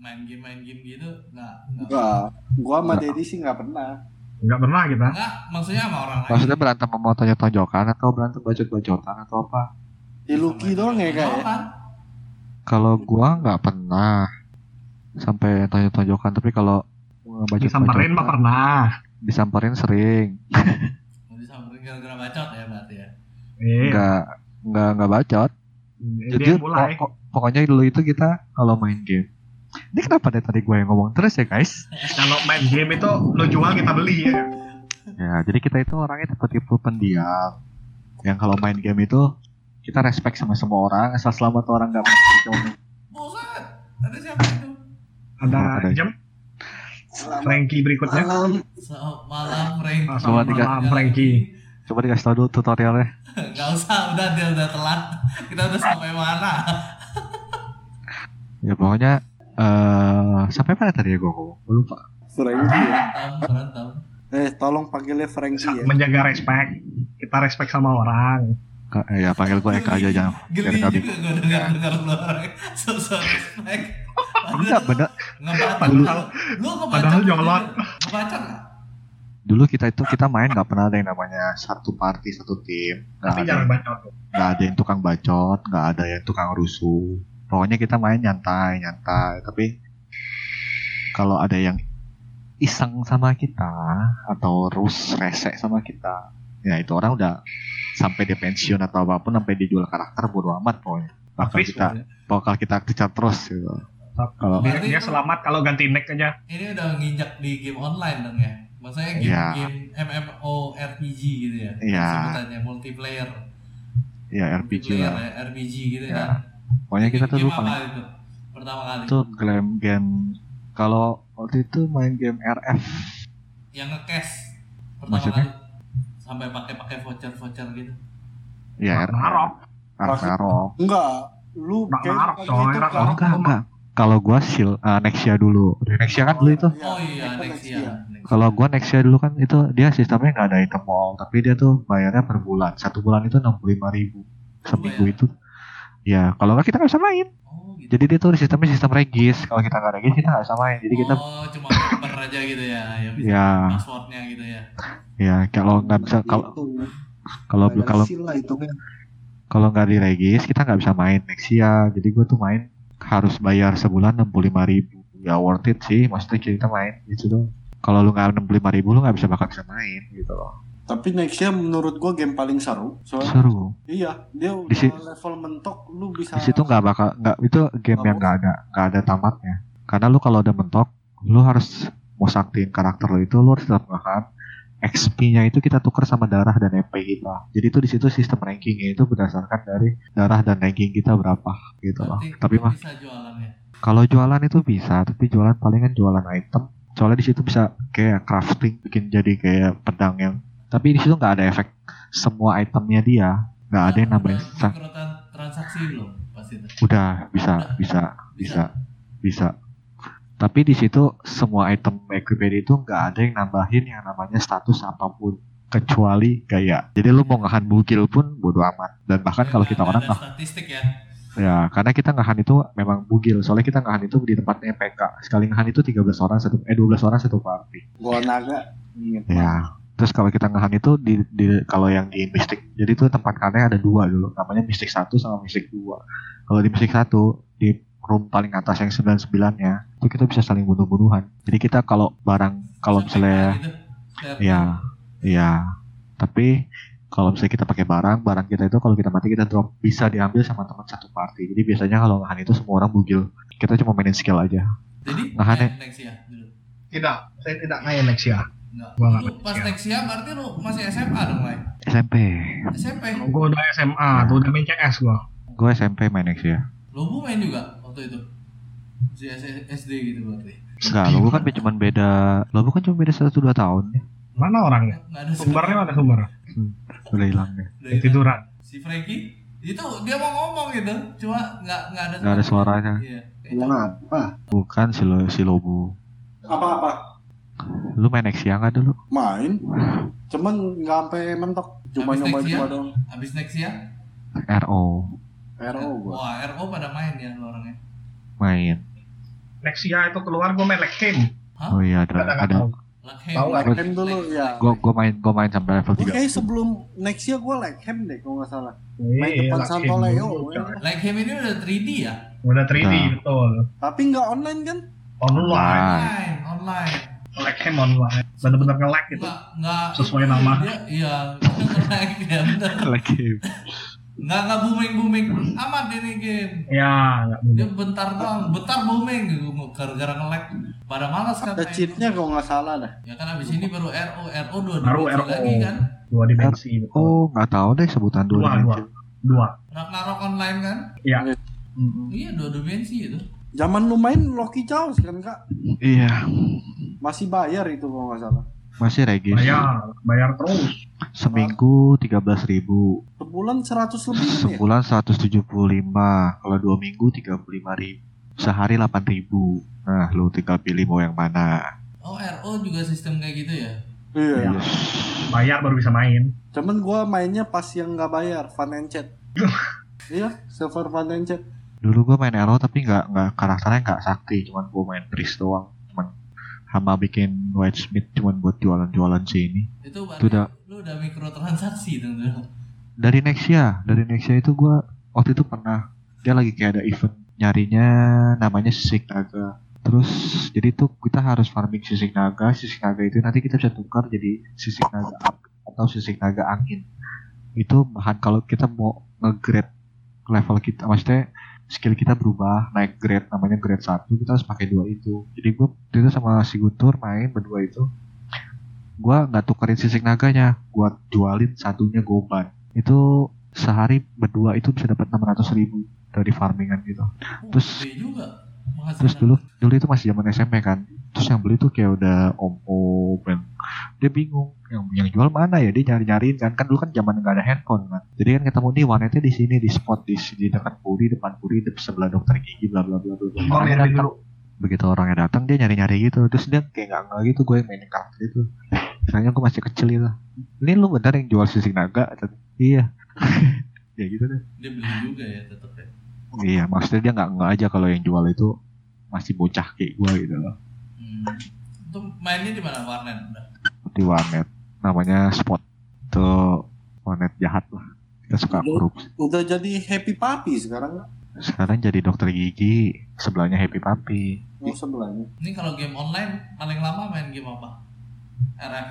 Speaker 1: main game main game gitu nggak nggak
Speaker 4: Enggak, gua sama Dedi sih nggak pernah.
Speaker 3: nggak pernah kita
Speaker 1: nggak maksudnya sama orang lain
Speaker 2: maksudnya berantem sama tonjok-tonjokan atau berantem bacot-bacotan atau apa
Speaker 4: Iluki
Speaker 1: Sama
Speaker 4: doang ya
Speaker 1: dia.
Speaker 4: kayak.
Speaker 1: Apaan?
Speaker 2: kalau gua nggak pernah sampai tonjok-tonjokan tapi kalau
Speaker 3: disamperin
Speaker 2: bacot-bacotan
Speaker 3: mah pernah
Speaker 2: disamperin sering
Speaker 1: Mau disamperin gara-gara bacot ya berarti ya
Speaker 4: Iya.
Speaker 3: eh
Speaker 2: nggak nggak nggak bacot
Speaker 3: dia
Speaker 2: jujur
Speaker 3: mulai
Speaker 2: pokok- pokoknya dulu itu kita kalau main game ini kenapa dari tadi gue yang ngomong terus ya guys
Speaker 3: kalau main game itu lo jual kita beli ya
Speaker 2: ya jadi kita itu orangnya tipe-tipe pendiam yang kalau main game itu kita respect sama semua orang asal selamat orang nggak macam
Speaker 1: buset ada siapa itu
Speaker 3: ada
Speaker 2: Ada.
Speaker 3: jam Frankie berikutnya
Speaker 4: Malam.
Speaker 1: Selamat malam Frankie
Speaker 3: Ah,
Speaker 2: selamat
Speaker 3: malam, Frankie.
Speaker 2: coba dikasih tau dulu tutorialnya
Speaker 1: Gak usah, udah dia udah telat. Kita udah sampai mana?
Speaker 2: ya pokoknya eh sampai mana tadi ya gue ngomong Gue lupa
Speaker 4: Frankie ya.
Speaker 1: Berantem, berantem.
Speaker 4: Eh, tolong panggilnya Frankie ya.
Speaker 3: menjaga respect kita respect sama orang
Speaker 2: Ka- eh, ya panggil gue Eka aja jangan
Speaker 1: Geli
Speaker 2: dari kami
Speaker 1: juga gue denger denger lu orang sosok respect.
Speaker 2: enggak bener
Speaker 1: Ngebacot lu.
Speaker 3: Padahal-
Speaker 1: Lu ngebacot.
Speaker 3: padahal
Speaker 1: gitu.
Speaker 3: nyolot.
Speaker 1: Ngebacot nggak?
Speaker 2: dulu kita itu kita main nggak pernah ada yang namanya satu party satu tim nggak
Speaker 3: tapi
Speaker 2: ada
Speaker 3: jangan bacot
Speaker 2: nggak ada yang tukang bacot, nggak ada yang tukang rusuh. Pokoknya kita main nyantai, nyantai. Tapi kalau ada yang iseng sama kita atau rus resek sama kita, ya itu orang udah sampai di pensiun atau apapun sampai dijual karakter bodo amat pokoknya. Bakal
Speaker 3: Habis
Speaker 2: kita bakal kita kejar terus gitu. Kalau
Speaker 1: Berarti
Speaker 3: dia
Speaker 1: itu-
Speaker 3: selamat kalau ganti neck aja
Speaker 1: Ini udah nginjak di game online dong ya. Maksudnya game,
Speaker 2: Iya.
Speaker 1: game MMORPG gitu ya.
Speaker 2: Iya.
Speaker 1: Sebutannya multiplayer.
Speaker 2: ya RPG
Speaker 1: multiplayer
Speaker 2: lah.
Speaker 1: ya, RPG gitu
Speaker 2: Iya.
Speaker 1: kan.
Speaker 2: Pokoknya kita tuh
Speaker 1: Game
Speaker 2: dulu
Speaker 1: apa
Speaker 2: paling
Speaker 1: itu? Pertama kali.
Speaker 2: itu game game kalau waktu itu main game RF
Speaker 1: yang nge-cash pertama
Speaker 2: Maksudnya?
Speaker 1: kali sampai pakai pakai voucher voucher gitu
Speaker 2: ya
Speaker 3: Ragnarok.
Speaker 2: Ragnarok
Speaker 4: Enggak, lu
Speaker 3: Nggak
Speaker 4: kayaknya
Speaker 3: marah,
Speaker 4: kayak
Speaker 3: coy.
Speaker 4: gitu,
Speaker 3: Nggak
Speaker 4: Kak.
Speaker 2: Oh, enggak, enggak. Kalau gua sil eh, Nexia dulu. Nexia kan dulu itu.
Speaker 1: oh iya
Speaker 4: ya.
Speaker 1: Nexia
Speaker 2: Kalau gua Nexia dulu kan itu dia sistemnya nggak ada item all, tapi dia tuh bayarnya per bulan. Satu bulan itu 65.000 ribu. Seminggu
Speaker 1: Lumayan.
Speaker 2: itu ya kalau nggak kita nggak bisa main.
Speaker 1: oh gitu
Speaker 2: Jadi dia tuh sistemnya sistem regis. Kalau kita nggak regis kita nggak bisa main. Jadi kita
Speaker 1: oh cuma member aja gitu ya ya bisa
Speaker 2: ya
Speaker 1: passwordnya gitu ya
Speaker 2: ya kalau nggak bisa kalau
Speaker 4: Itu,
Speaker 2: kalau
Speaker 4: bayar
Speaker 2: kalau
Speaker 4: seal lah hitungnya.
Speaker 2: kalau nggak di regis kita nggak bisa main Nexia. Jadi gua tuh main harus bayar sebulan 65.000 ribu. Ya worth it sih. Maksudnya kita main gitu tuh. Kalau lu nggak 65.000 ribu lu nggak bisa bakal bisa main gitu loh.
Speaker 4: Tapi nextnya menurut gua game paling seru. Soalnya
Speaker 2: seru
Speaker 4: iya, dia udah
Speaker 2: Di situ-
Speaker 4: level mentok lu bisa
Speaker 2: di situ nggak bakal nggak itu game
Speaker 4: Nggak
Speaker 2: yang nggak ada nggak ada tamatnya karena lu kalau udah mentok lu harus mau saktiin karakter lu itu lu harus tetap makan XP-nya itu kita tuker sama darah dan MP kita. Jadi itu di situ sistem rankingnya itu berdasarkan dari darah dan ranking kita berapa gitu loh.
Speaker 1: Berarti
Speaker 2: Tapi mah
Speaker 1: bisa jualannya
Speaker 2: kalau jualan itu bisa, tapi jualan palingan jualan item. Soalnya di situ bisa kayak crafting bikin jadi kayak pedang yang. Tapi di situ nggak ada efek semua itemnya dia nggak ada yang nambahin
Speaker 1: Micro-
Speaker 2: sa-
Speaker 1: micro tran- transaksi belum pasti itu
Speaker 2: udah bisa bisa bisa bisa tapi di situ semua item equipment itu nggak ada yang nambahin yang namanya status apapun kecuali gaya jadi lu mau ngahan bugil pun bodo amat dan bahkan
Speaker 1: Ya,
Speaker 2: Kan kalau kita
Speaker 1: ada
Speaker 2: orang ah, nggak-
Speaker 1: statistik ya
Speaker 2: ya karena kita ngahan itu memang bugil soalnya kita ngahan itu di tempatnya PK sekali ngahan itu 13 orang satu eh 12 orang satu party
Speaker 4: gua naga. Ingat.
Speaker 2: ya terus kalau kita ngahan itu di, di- kalau yang di mistik jadi itu tempat kannya ada dua dulu namanya mistik satu sama mistik dua kalau di mistik satu di room paling atas yang 99 nya itu kita bisa saling bunuh-bunuhan jadi kita kalau barang kalau
Speaker 1: Sampai
Speaker 2: misalnya
Speaker 1: kayak gitu. Fair.
Speaker 2: ya ya tapi kalau misalnya kita pakai barang barang kita itu kalau kita mati kita drop bisa diambil sama teman satu party jadi biasanya kalau ngahan itu semua orang bugil kita cuma mainin skill aja
Speaker 1: jadi
Speaker 2: Nahan ya.
Speaker 1: eh, Nexia dulu
Speaker 3: tidak saya tidak ya. kayak Nexia
Speaker 1: Enggak.
Speaker 3: Gua nggak iya.
Speaker 1: Lu pas
Speaker 3: Nexia.
Speaker 1: Nexia berarti lu masih SMA dong, Lai?
Speaker 2: Iya. SMP
Speaker 1: SMP.
Speaker 3: gue udah SMA tuh udah main CS gue
Speaker 2: gue SMP main next ya
Speaker 1: Lu Bu main juga waktu itu. Masih SD gitu berarti.
Speaker 2: Enggak, logo kan cuma beda logo kan cuma beda satu dua tahun ya.
Speaker 3: mana orangnya
Speaker 1: Nggak ada
Speaker 3: sumbernya mana sumber
Speaker 2: Udah hilang ya.
Speaker 1: Udah hilang.
Speaker 3: tiduran
Speaker 1: si Frankie itu dia mau ngomong gitu cuma nggak nggak ada
Speaker 2: Nggak ada suaranya.
Speaker 1: iya
Speaker 4: Yang apa?
Speaker 2: Bukan si, lo, si Lobo.
Speaker 4: Apa-apa?
Speaker 2: Lu main Nexia nggak dulu?
Speaker 4: Main. Cuman nggak sampai mentok. Cuma
Speaker 1: Habis ya?
Speaker 4: nyoba
Speaker 1: Nexia?
Speaker 4: coba dong.
Speaker 1: abis next ya
Speaker 2: RO.
Speaker 4: RO gua.
Speaker 1: Wah, RO pada main ya lu orangnya.
Speaker 2: main
Speaker 3: Nexia ya, itu keluar gue main leg game.
Speaker 1: Hah?
Speaker 2: oh iya
Speaker 3: Nggak,
Speaker 2: ada
Speaker 3: nggak
Speaker 2: ada
Speaker 3: tahu.
Speaker 1: Lakem.
Speaker 3: Tahu lah,
Speaker 4: Lakem dulu, ya.
Speaker 2: gua gua main gua main sampai level
Speaker 4: Gue
Speaker 2: 3
Speaker 4: kayaknya sebelum next year gue Lakham deh kalau nggak salah. Main
Speaker 3: Iya,
Speaker 4: depan
Speaker 3: leg
Speaker 4: Santo
Speaker 3: game
Speaker 4: Leo.
Speaker 3: dulu,
Speaker 4: ya.
Speaker 3: coy.
Speaker 1: Lakem ini udah 3D ya?
Speaker 3: Udah 3D
Speaker 2: Nah.
Speaker 3: betul.
Speaker 4: Tapi nggak online kan?
Speaker 3: Online,
Speaker 2: nah,
Speaker 1: Online, online.
Speaker 3: leg game online. Bener-bener nge-lag gitu.
Speaker 1: Nggak, nggak.
Speaker 3: Sesuai nama.
Speaker 1: Dia, iya, nge-lag ya bener.
Speaker 2: lagi
Speaker 1: Nggak, nggak booming-booming amat ini game.
Speaker 3: Ya, nggak
Speaker 1: Dia
Speaker 3: bener.
Speaker 1: bentar doang, bentar booming gitu. Gara-gara nge-lag. Pada malas kan
Speaker 4: Ada
Speaker 1: main.
Speaker 4: cheatnya kalau nggak salah dah.
Speaker 1: Ya kan abis ini baru RO, RO dua
Speaker 3: Baru
Speaker 1: dimensi
Speaker 3: RO.
Speaker 1: lagi kan.
Speaker 3: Dua dimensi betul.
Speaker 2: oh nggak tahu deh sebutan dua
Speaker 3: Dua, dua.
Speaker 2: dimensi
Speaker 3: Dua.
Speaker 1: Ragnarok online kan?
Speaker 3: Mm-mm.
Speaker 1: Iya dua dimensi itu.
Speaker 4: Zaman lu main Loki Chaos kan kak?
Speaker 2: iya
Speaker 4: Masih bayar itu kalau nggak salah.
Speaker 2: masih regis
Speaker 3: Nah, Bayar, bayar terus.
Speaker 2: seminggu 13.000
Speaker 4: Sebulan 100 lebih kan ya?
Speaker 2: sebulan 175 kalau dua minggu 35.000 sehari 8.000 nah lu tinggal pilih mau yang mana
Speaker 1: Oh RO juga sistem kayak gitu ya?
Speaker 4: Iya.
Speaker 3: Ya.
Speaker 2: Yes.
Speaker 3: Bayar baru bisa main.
Speaker 4: Cuman gue mainnya pas yang nggak bayar, fun and chat. iya, server fun and chat.
Speaker 2: dulu gua main RO tapi nggak nggak karakternya nggak sakti cuman gua main Priest doang cuman hama bikin Whitesmith cuman buat jualan-jualan sih ini
Speaker 1: Itu berarti
Speaker 2: Itu udah-
Speaker 1: lu udah mikrotransaksi dong tuh.
Speaker 2: dari Nexia dari Nexia itu gua waktu itu pernah dia lagi kayak ada event nyarinya namanya sisik naga terus jadi tuh kita harus farming sisik naga sisik naga itu nanti kita bisa tukar jadi sisik naga up atau sisik naga angin itu bahan kalau kita mau nge-grade level kita maksudnya skill kita berubah naik grade namanya grade 1 kita harus pakai dua itu jadi gua waktu itu sama si Guntur main berdua itu gua nggak tukerin sisik naganya gua jualin satunya goban itu sehari berdua itu bisa dapat 600.000 ribu dari farmingan gitu.
Speaker 1: Oh,
Speaker 2: Terus-
Speaker 1: gede juga.
Speaker 2: Terus dulu dulu itu masih zaman SMP kan. Terus yang beli tuh kayak udah om-om yang dia bingung yang yang jual mana ya dia nyari-nyariin kan kan dulu kan zaman nggak ada handphone kan. Jadi kan ketemu nih wanetnya di sini di spot di di dekat puri depan puri di sebelah dokter gigi bla bla bla bla. bla.
Speaker 3: Gua
Speaker 2: Orangnya
Speaker 3: mainin
Speaker 2: datang.
Speaker 3: dulu.
Speaker 2: begitu orangnya datang dia nyari-nyari gitu terus dia kayak nggak nggak gitu gue yang mainin karakter itu misalnya gue masih kecil gitu ini lu bener yang jual sisik naga iya ya gitu deh
Speaker 1: Dia beli juga ya tetep ya.
Speaker 2: Iya, maksudnya dia nggak nggak aja kalau yang jual itu masih bocah kayak gue gitu loh
Speaker 1: Hmm. Itu mainnya di mana warnet? Udah.
Speaker 2: di warnet. Namanya spot tuh warnet jahat lah. Kita
Speaker 1: Iya.
Speaker 2: suka korupsi.
Speaker 4: Udah jadi happy puppy sekarang nggak?
Speaker 2: Sekarang jadi dokter gigi, sebelahnya Happy Papi.
Speaker 4: Mau sebelahnya.
Speaker 1: Ini kalau game online paling lama main game apa? RF.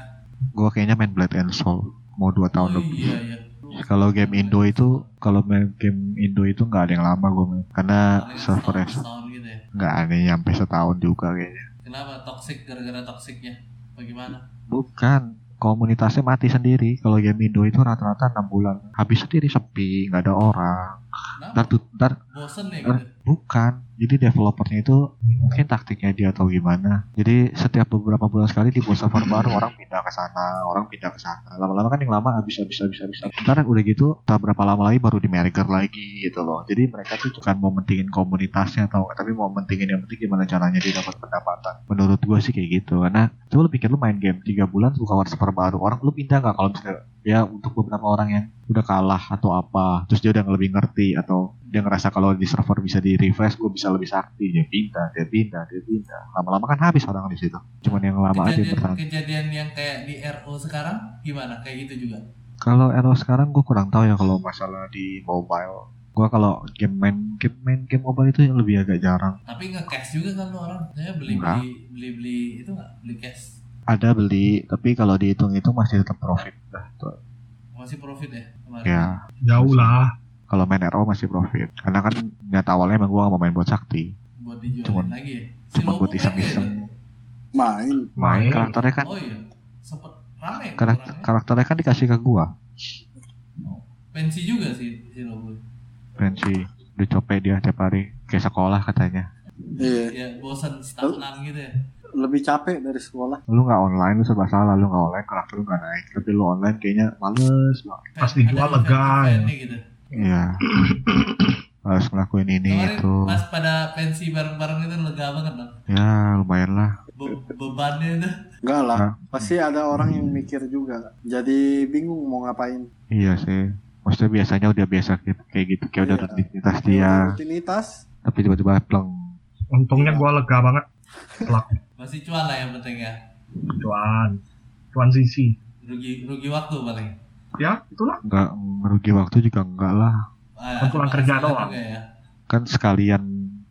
Speaker 2: Gue kayaknya main Blade and Soul mau dua tahun
Speaker 1: Oh
Speaker 2: lebih.
Speaker 1: iya iya.
Speaker 2: Ya, Kalau game Indo itu, kalau main game Indo itu nggak ada yang lama gue main karena
Speaker 1: Paling
Speaker 2: servernya
Speaker 1: setahun, setahun gitu ya.
Speaker 2: nggak aneh sampai setahun juga kayaknya.
Speaker 1: Kenapa toxic gara-gara toxicnya? Bagaimana?
Speaker 2: Bukan komunitasnya mati sendiri. Kalau game Indo itu rata-rata enam bulan, habis sendiri sepi, nggak ada orang. Ntar,
Speaker 1: Kenapa?
Speaker 2: tut- ntar
Speaker 1: Bosen ya gitu.
Speaker 2: Bukan. Jadi developernya itu mungkin taktiknya dia atau gimana. Jadi setiap beberapa bulan sekali dibuat server baru, orang pindah ke sana, orang pindah ke sana. Lama-lama kan yang lama habis habis habis habis. Ntar udah gitu, tak berapa lama lagi baru di merger lagi gitu loh. Jadi mereka tuh bukan mau mentingin komunitasnya atau tapi mau mentingin yang penting gimana caranya dia dapat pendapatan. Menurut gua sih kayak gitu. Karena coba lu pikir lu main game 3 bulan buka server baru, orang lu pindah nggak kalau misalnya ya untuk beberapa orang yang udah kalah atau apa terus dia udah lebih ngerti atau dia ngerasa kalau di server bisa di refresh gue bisa lebih sakti dia pindah dia pindah dia pindah lama-lama kan habis orang di situ cuman yang lama aja yang
Speaker 1: Kejadian,
Speaker 2: bertahan
Speaker 1: kejadian yang kayak di RO sekarang gimana? Kayak gitu juga.
Speaker 2: kalau RO sekarang gue kurang tahu ya kalau masalah di mobile gue kalau game main game main game mobile itu yang lebih agak jarang
Speaker 1: Tapi nge-cash juga kan lu orang. Saya beli
Speaker 2: Enggak.
Speaker 1: beli beli beli itu nggak beli cash.
Speaker 2: ada beli tapi kalau dihitung itu masih tetap profit lah tuh
Speaker 1: Masih profit ya kemarin.
Speaker 2: ya
Speaker 3: Jauh lah.
Speaker 2: kalau main RO masih profit karena kan niat awalnya emang gue gak mau main buat sakti
Speaker 1: Buat dijualin
Speaker 2: Cuman-
Speaker 1: lagi ya. Si
Speaker 2: cuma
Speaker 1: Lobo
Speaker 2: buat
Speaker 1: main nggak
Speaker 2: iseng-iseng
Speaker 4: Main.
Speaker 2: main
Speaker 3: Main.
Speaker 2: karakternya
Speaker 1: ya?
Speaker 2: kan
Speaker 1: Oh iya. Sempet rame kan
Speaker 2: karakter
Speaker 1: orangnya.
Speaker 2: karakternya kan dikasih ke gua
Speaker 1: Pensi juga sih si Lobo.
Speaker 2: pensi udah capek dia tiap hari ke sekolah katanya
Speaker 4: Iya.
Speaker 1: Ya bosan stagnan gitu ya.
Speaker 4: Lebih capek dari sekolah.
Speaker 2: lu nggak online lu serba salah lu nggak online karakter lu nggak naik tapi lu online kayaknya males banget
Speaker 3: Pas dijual
Speaker 1: Ada
Speaker 3: lega ya.
Speaker 1: event-eventnya gitu.
Speaker 2: iya harus ngelakuin ini
Speaker 1: Kemarin
Speaker 2: itu
Speaker 1: pas pada pensi bareng-bareng itu lega banget dong.
Speaker 2: ya lumayan lah
Speaker 1: Be- bebannya itu.
Speaker 4: Enggak lah.
Speaker 2: Hah?
Speaker 4: Pasti ada orang yang mikir juga. Jadi bingung mau ngapain.
Speaker 2: iya sih maksudnya biasanya udah biasa kayak kayak gitu kayak udah
Speaker 4: Iya.
Speaker 2: rutinitas dia
Speaker 4: Rutinitas.
Speaker 2: tapi tiba-tiba pleng
Speaker 3: Untungnya gue lega banget
Speaker 1: Masih cuan lah yang penting ya.
Speaker 3: Cuan Cuan sisi
Speaker 1: Rugi rugi waktu paling.
Speaker 3: Ya itulah
Speaker 2: nggak ngerugi waktu juga enggak lah
Speaker 1: Ah,
Speaker 3: Kan pulang kerja
Speaker 1: juga
Speaker 3: doang.
Speaker 1: Ya,
Speaker 2: kan sekalian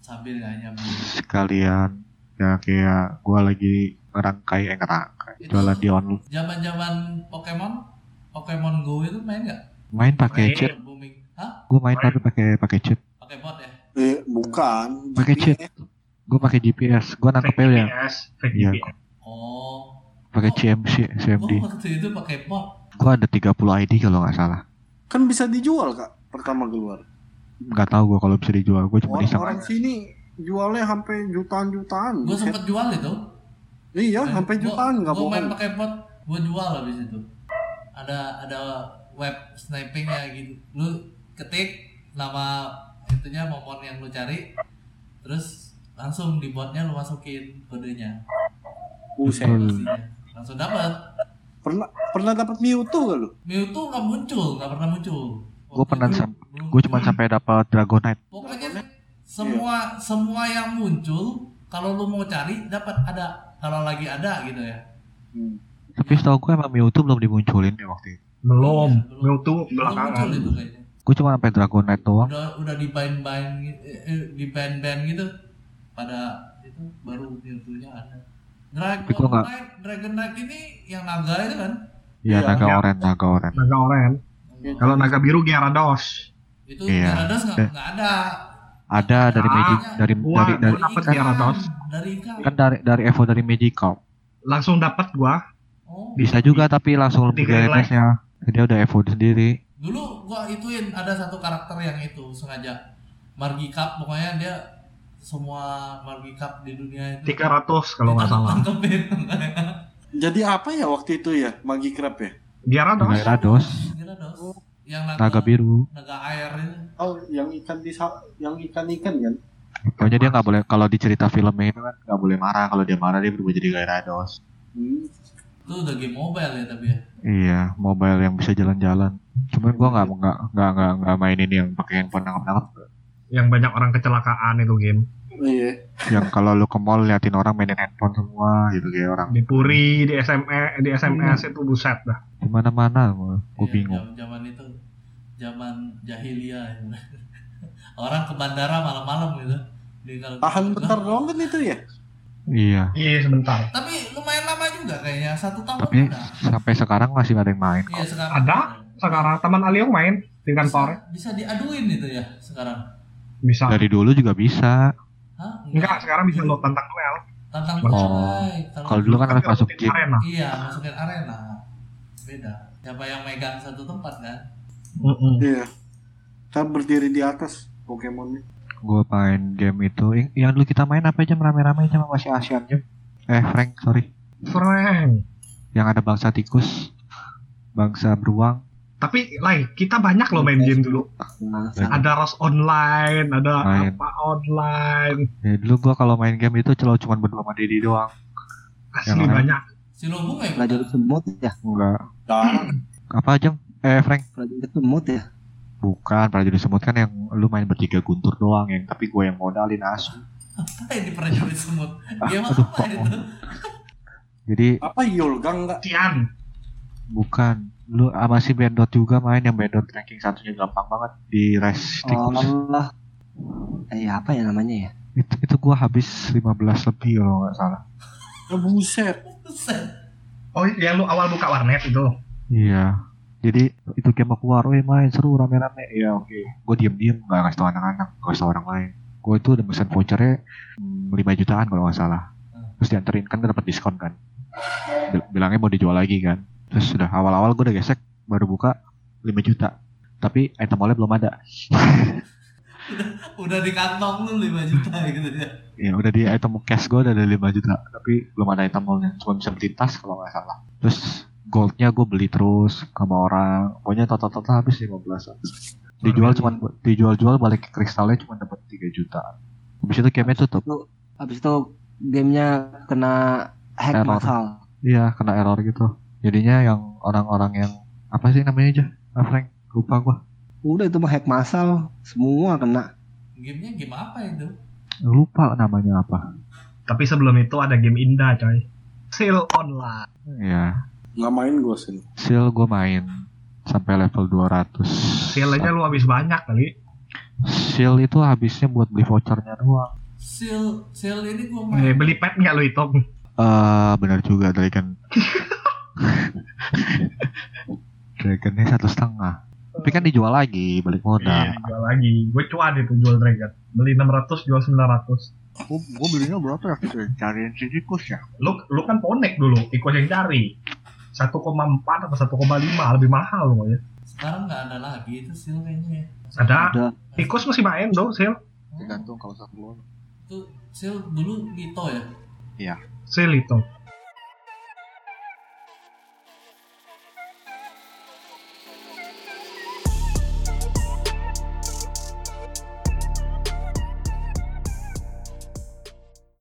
Speaker 1: sambil nggak nyambi.
Speaker 2: sekalian ya kayak gua lagi ngerangkai eh ngerangkai jualan di online
Speaker 1: Zaman zaman Pokemon, Pokemon Go itu main nggak?
Speaker 2: main pakai
Speaker 3: Main.
Speaker 2: chip
Speaker 1: Booming. Hah?
Speaker 2: gua main tapi pakai pakai chip
Speaker 1: Pakai bot ya?
Speaker 4: Eh, bukan.
Speaker 2: Pakai cheat.
Speaker 4: GPS.
Speaker 2: gua pakai GPS gua
Speaker 3: Fake
Speaker 2: nangkepnya ya
Speaker 3: GPS Fake
Speaker 2: Iya.
Speaker 3: GPS
Speaker 1: Oh.
Speaker 2: pakai CMC
Speaker 1: Gua
Speaker 2: CMD
Speaker 1: waktu itu pakai bot.
Speaker 2: gua ada 30 ID kalau nggak salah
Speaker 4: Kan bisa dijual, Kak. Pertama keluar.
Speaker 2: nggak tahu gua kalau bisa dijual gua cuma iseng
Speaker 4: Orang-orang sini jualnya sampai jutaan-jutaan.
Speaker 1: Gua sempet jual itu.
Speaker 4: Iya,
Speaker 1: Main-
Speaker 4: sampai
Speaker 1: gua-
Speaker 4: jutaan nggak
Speaker 1: Gua main
Speaker 4: bohong.
Speaker 1: pakai bot, gua jual habis itu. Ada ada web snipingnya gitu. Lu ketik nama itunya momon yang lu cari, terus langsung di botnya lu masukin kodenya.
Speaker 4: Buset.
Speaker 2: Hmm.
Speaker 1: Pastinya. Langsung dapat.
Speaker 4: Pernah pernah dapat Mewtwo gak lu?
Speaker 1: Mewtwo nggak muncul, nggak pernah muncul.
Speaker 2: Gua
Speaker 1: Waktu
Speaker 2: pernah
Speaker 1: itu
Speaker 2: sam-
Speaker 1: belum-
Speaker 2: gua cuma sampai dapat Dragonite
Speaker 1: pokoknya semua semua yang muncul kalau lu mau cari dapat ada kalau lagi ada gitu ya.
Speaker 2: Hmm. tapi setahu gua emang Mewtwo belum dimunculin ya waktu itu
Speaker 3: Belum
Speaker 1: Iya, belum.
Speaker 3: Mewtwo
Speaker 1: Belum muncul
Speaker 3: belakangan
Speaker 1: itu kayaknya.
Speaker 2: gua cuma sampai Dragonite doang
Speaker 1: Udah udah di bind bind di band band gitu pada itu baru Mewtwo-nya ada. Dragon
Speaker 2: Tapi gua nggak-
Speaker 1: Knight, Dragon Knight ini yang naga itu kan?
Speaker 2: ya
Speaker 4: Iya.
Speaker 2: naga
Speaker 3: Iya.
Speaker 2: oren naga oren
Speaker 3: Naga oren Kalau naga biru Gyarados
Speaker 1: itu
Speaker 2: Iya.
Speaker 1: Gyarados nggak nggak ada.
Speaker 2: ada dari
Speaker 1: Ah,
Speaker 2: Magic dari
Speaker 3: gua
Speaker 2: dari dari
Speaker 3: dapet
Speaker 1: ikan,
Speaker 3: Gyarados.
Speaker 1: Dari ikan.
Speaker 2: kan dari dari Evo dari Magikarp
Speaker 3: Langsung dapat gua
Speaker 1: Oh.
Speaker 2: bisa juga tapi langsung
Speaker 3: Di
Speaker 2: lebih
Speaker 3: green light.
Speaker 2: nya dia udah Evo sendiri
Speaker 1: dulu gua ituin ada satu karakter yang itu sengaja Margi Cup pokoknya dia semua Margi Cup di dunia itu
Speaker 3: 300 kalau nggak salah
Speaker 1: Ditangkepin.
Speaker 4: Jadi apa ya waktu itu ya? Magikarp ya?
Speaker 2: Iya,
Speaker 3: Gyarados
Speaker 2: Gyarados
Speaker 1: Gyarados. yang naga,
Speaker 2: naga biru
Speaker 1: naga air itu
Speaker 4: Oh, yang ikan di sa- yang ikan-ikan kan?
Speaker 2: pokoknya dia nggak boleh kalau di cerita filmnya itu kan nggak boleh marah kalau dia marah dia berubah jadi Gyarados
Speaker 4: Hmm.
Speaker 1: itu udah game mobile ya tapi ya
Speaker 2: iya mobile yang bisa jalan-jalan cuman gua nggak nggak nggak nggak nggak mainin yang pakai handphone nangkep nangkep
Speaker 3: Yang banyak orang kecelakaan itu game
Speaker 4: Iya.
Speaker 2: yang kalau lu ke mall liatin orang mainin handphone semua gitu kayak orang
Speaker 3: Di Puri, di SME, di SMS itu buset dah
Speaker 2: di mana mana gua gua
Speaker 1: Iya,
Speaker 2: bingung
Speaker 1: jam- zaman itu zaman jahiliyah ya. orang ke bandara malam-malam gitu Di kalau-
Speaker 4: Tahan bentar doang kan itu ya?
Speaker 2: iya
Speaker 3: Iya sebentar
Speaker 1: tapi lumayan lama juga kayaknya satu tahun
Speaker 2: tapi
Speaker 1: udah
Speaker 2: sampai sekarang masih nggak ada yang main
Speaker 1: iya
Speaker 2: kok
Speaker 1: sekarang
Speaker 3: Ada? Sekarang teman Aliong main di
Speaker 2: kan,
Speaker 3: kantor
Speaker 1: bisa, bisa diaduin itu ya sekarang
Speaker 3: Bisa
Speaker 2: dari dulu juga bisa
Speaker 1: Hah?
Speaker 3: Enggak, sekarang bisa lo tantang duel
Speaker 1: tantang
Speaker 3: Oh.
Speaker 1: mulai
Speaker 2: kalau dulu kan
Speaker 3: Tapi
Speaker 2: harus masuk
Speaker 3: rutin
Speaker 2: gym
Speaker 3: arena
Speaker 1: iya masukin arena beda siapa yang megang satu tempat kan
Speaker 3: Mm-mm.
Speaker 4: Iya. Kita berdiri di atas Pokemonnya.
Speaker 2: gue main game itu yang- yang dulu kita main apa jam rame-rame jam masih Asian jam eh Frank sorry
Speaker 3: Frank
Speaker 2: yang ada bangsa tikus bangsa beruang
Speaker 3: Tapi Lai, kita banyak loh main game dulu.
Speaker 4: Nah,
Speaker 3: Ada Ros online, ada
Speaker 2: Main.
Speaker 3: apa online.
Speaker 2: ya, dulu gue kalau main game itu celo cuma berdua sama Didi doang
Speaker 3: Asli
Speaker 2: Yang lain.
Speaker 3: banyak.
Speaker 1: silobung ya
Speaker 5: Prajurit semut ya,
Speaker 2: enggak
Speaker 4: Jarang.
Speaker 2: apa jam eh Frank
Speaker 5: prajurit semut ya.
Speaker 2: bukan prajurit semut kan yang lu main bertiga guntur doang yang tapi gue yang modalin asu
Speaker 1: apa ini prajurit semut
Speaker 2: Ah,
Speaker 1: game
Speaker 2: aduh,
Speaker 1: apa
Speaker 2: kok.
Speaker 1: itu
Speaker 2: jadi
Speaker 4: Apa Yolgang nggak?
Speaker 3: Tian,
Speaker 2: bukan lu sama si Bendot juga main yang Bendot ranking satunya gampang banget di race tikus
Speaker 5: Allah. Eh apa ya namanya ya?
Speaker 2: itu, itu gue habis 15 lebih kalau nggak salah
Speaker 4: Ya buset.
Speaker 1: Buset.
Speaker 3: oh yang lu awal buka warnet itu.
Speaker 2: Iya. Jadi itu game aku keluar, "Weh, main seru rame-rame. Iya oke. Gue diem-diem nggak ngasih tau anak-anak, nggak ngasih tau orang lain. Gue itu udah mesen vouchernya mm, 5 jutaan kalau nggak salah. Terus dianterin kan dapat diskon kan. Bil- Bilangnya mau dijual lagi kan. Terus sudah awal-awal gue udah gesek, baru buka 5 juta. Tapi item mallnya belum ada.
Speaker 1: udah di kantong lu 5 juta gitu ya
Speaker 2: Ya udah di item cash gue udah ada 5 juta, tapi belum ada item mallnya. Cuma bisa beli tas kalau nggak salah. Terus goldnya gue beli terus sama orang. Pokoknya total-total habis 15 dijual cuma dijual-jual balik ke kristalnya cuma dapat 3 juta habis itu gamenya tutup
Speaker 5: Habis itu gamenya kena hack
Speaker 2: Error.
Speaker 5: massal.
Speaker 2: iya kena error gitu jadinya yang orang-orang yang apa sih namanya aja ah, Frank lupa gua
Speaker 5: Udah itu mah hack masal, semua kena.
Speaker 1: Gamenya game apa itu?
Speaker 2: Lupa namanya apa.
Speaker 3: Tapi sebelum itu ada game indah coy. Seal online.
Speaker 2: Ya,
Speaker 4: nggak main gue sih
Speaker 2: seal gue main sampai level 200.
Speaker 3: Seal aja lu habis banyak kali.
Speaker 2: Seal itu habisnya buat beli vouchernya doang.
Speaker 1: Seal, seal ini gua
Speaker 3: Eh,
Speaker 1: main.
Speaker 3: beli pet nggak lu hitung?
Speaker 2: Eh, benar juga Dragon. Dragonnya satu setengah. Tapi kan dijual lagi balik modal.
Speaker 3: Iya, jual lagi. Gue cuan itu jual dragon. Beli 600, jual 900.
Speaker 2: Gue belinya berapa ya? Cariin sih tikus ya.
Speaker 3: Lu, lu kan ponek dulu, ikut yang cari. 1,4 atau 1,5 lebih mahal lu ya.
Speaker 1: Sekarang nggak ada lagi itu seal kayaknya ya.
Speaker 3: Ada,
Speaker 5: Udah.
Speaker 3: tikus masih main dong, Sil.
Speaker 1: Hmm,
Speaker 2: Tergantung kalau satu
Speaker 1: Itu seal dulu Lito ya.
Speaker 3: Sil itu.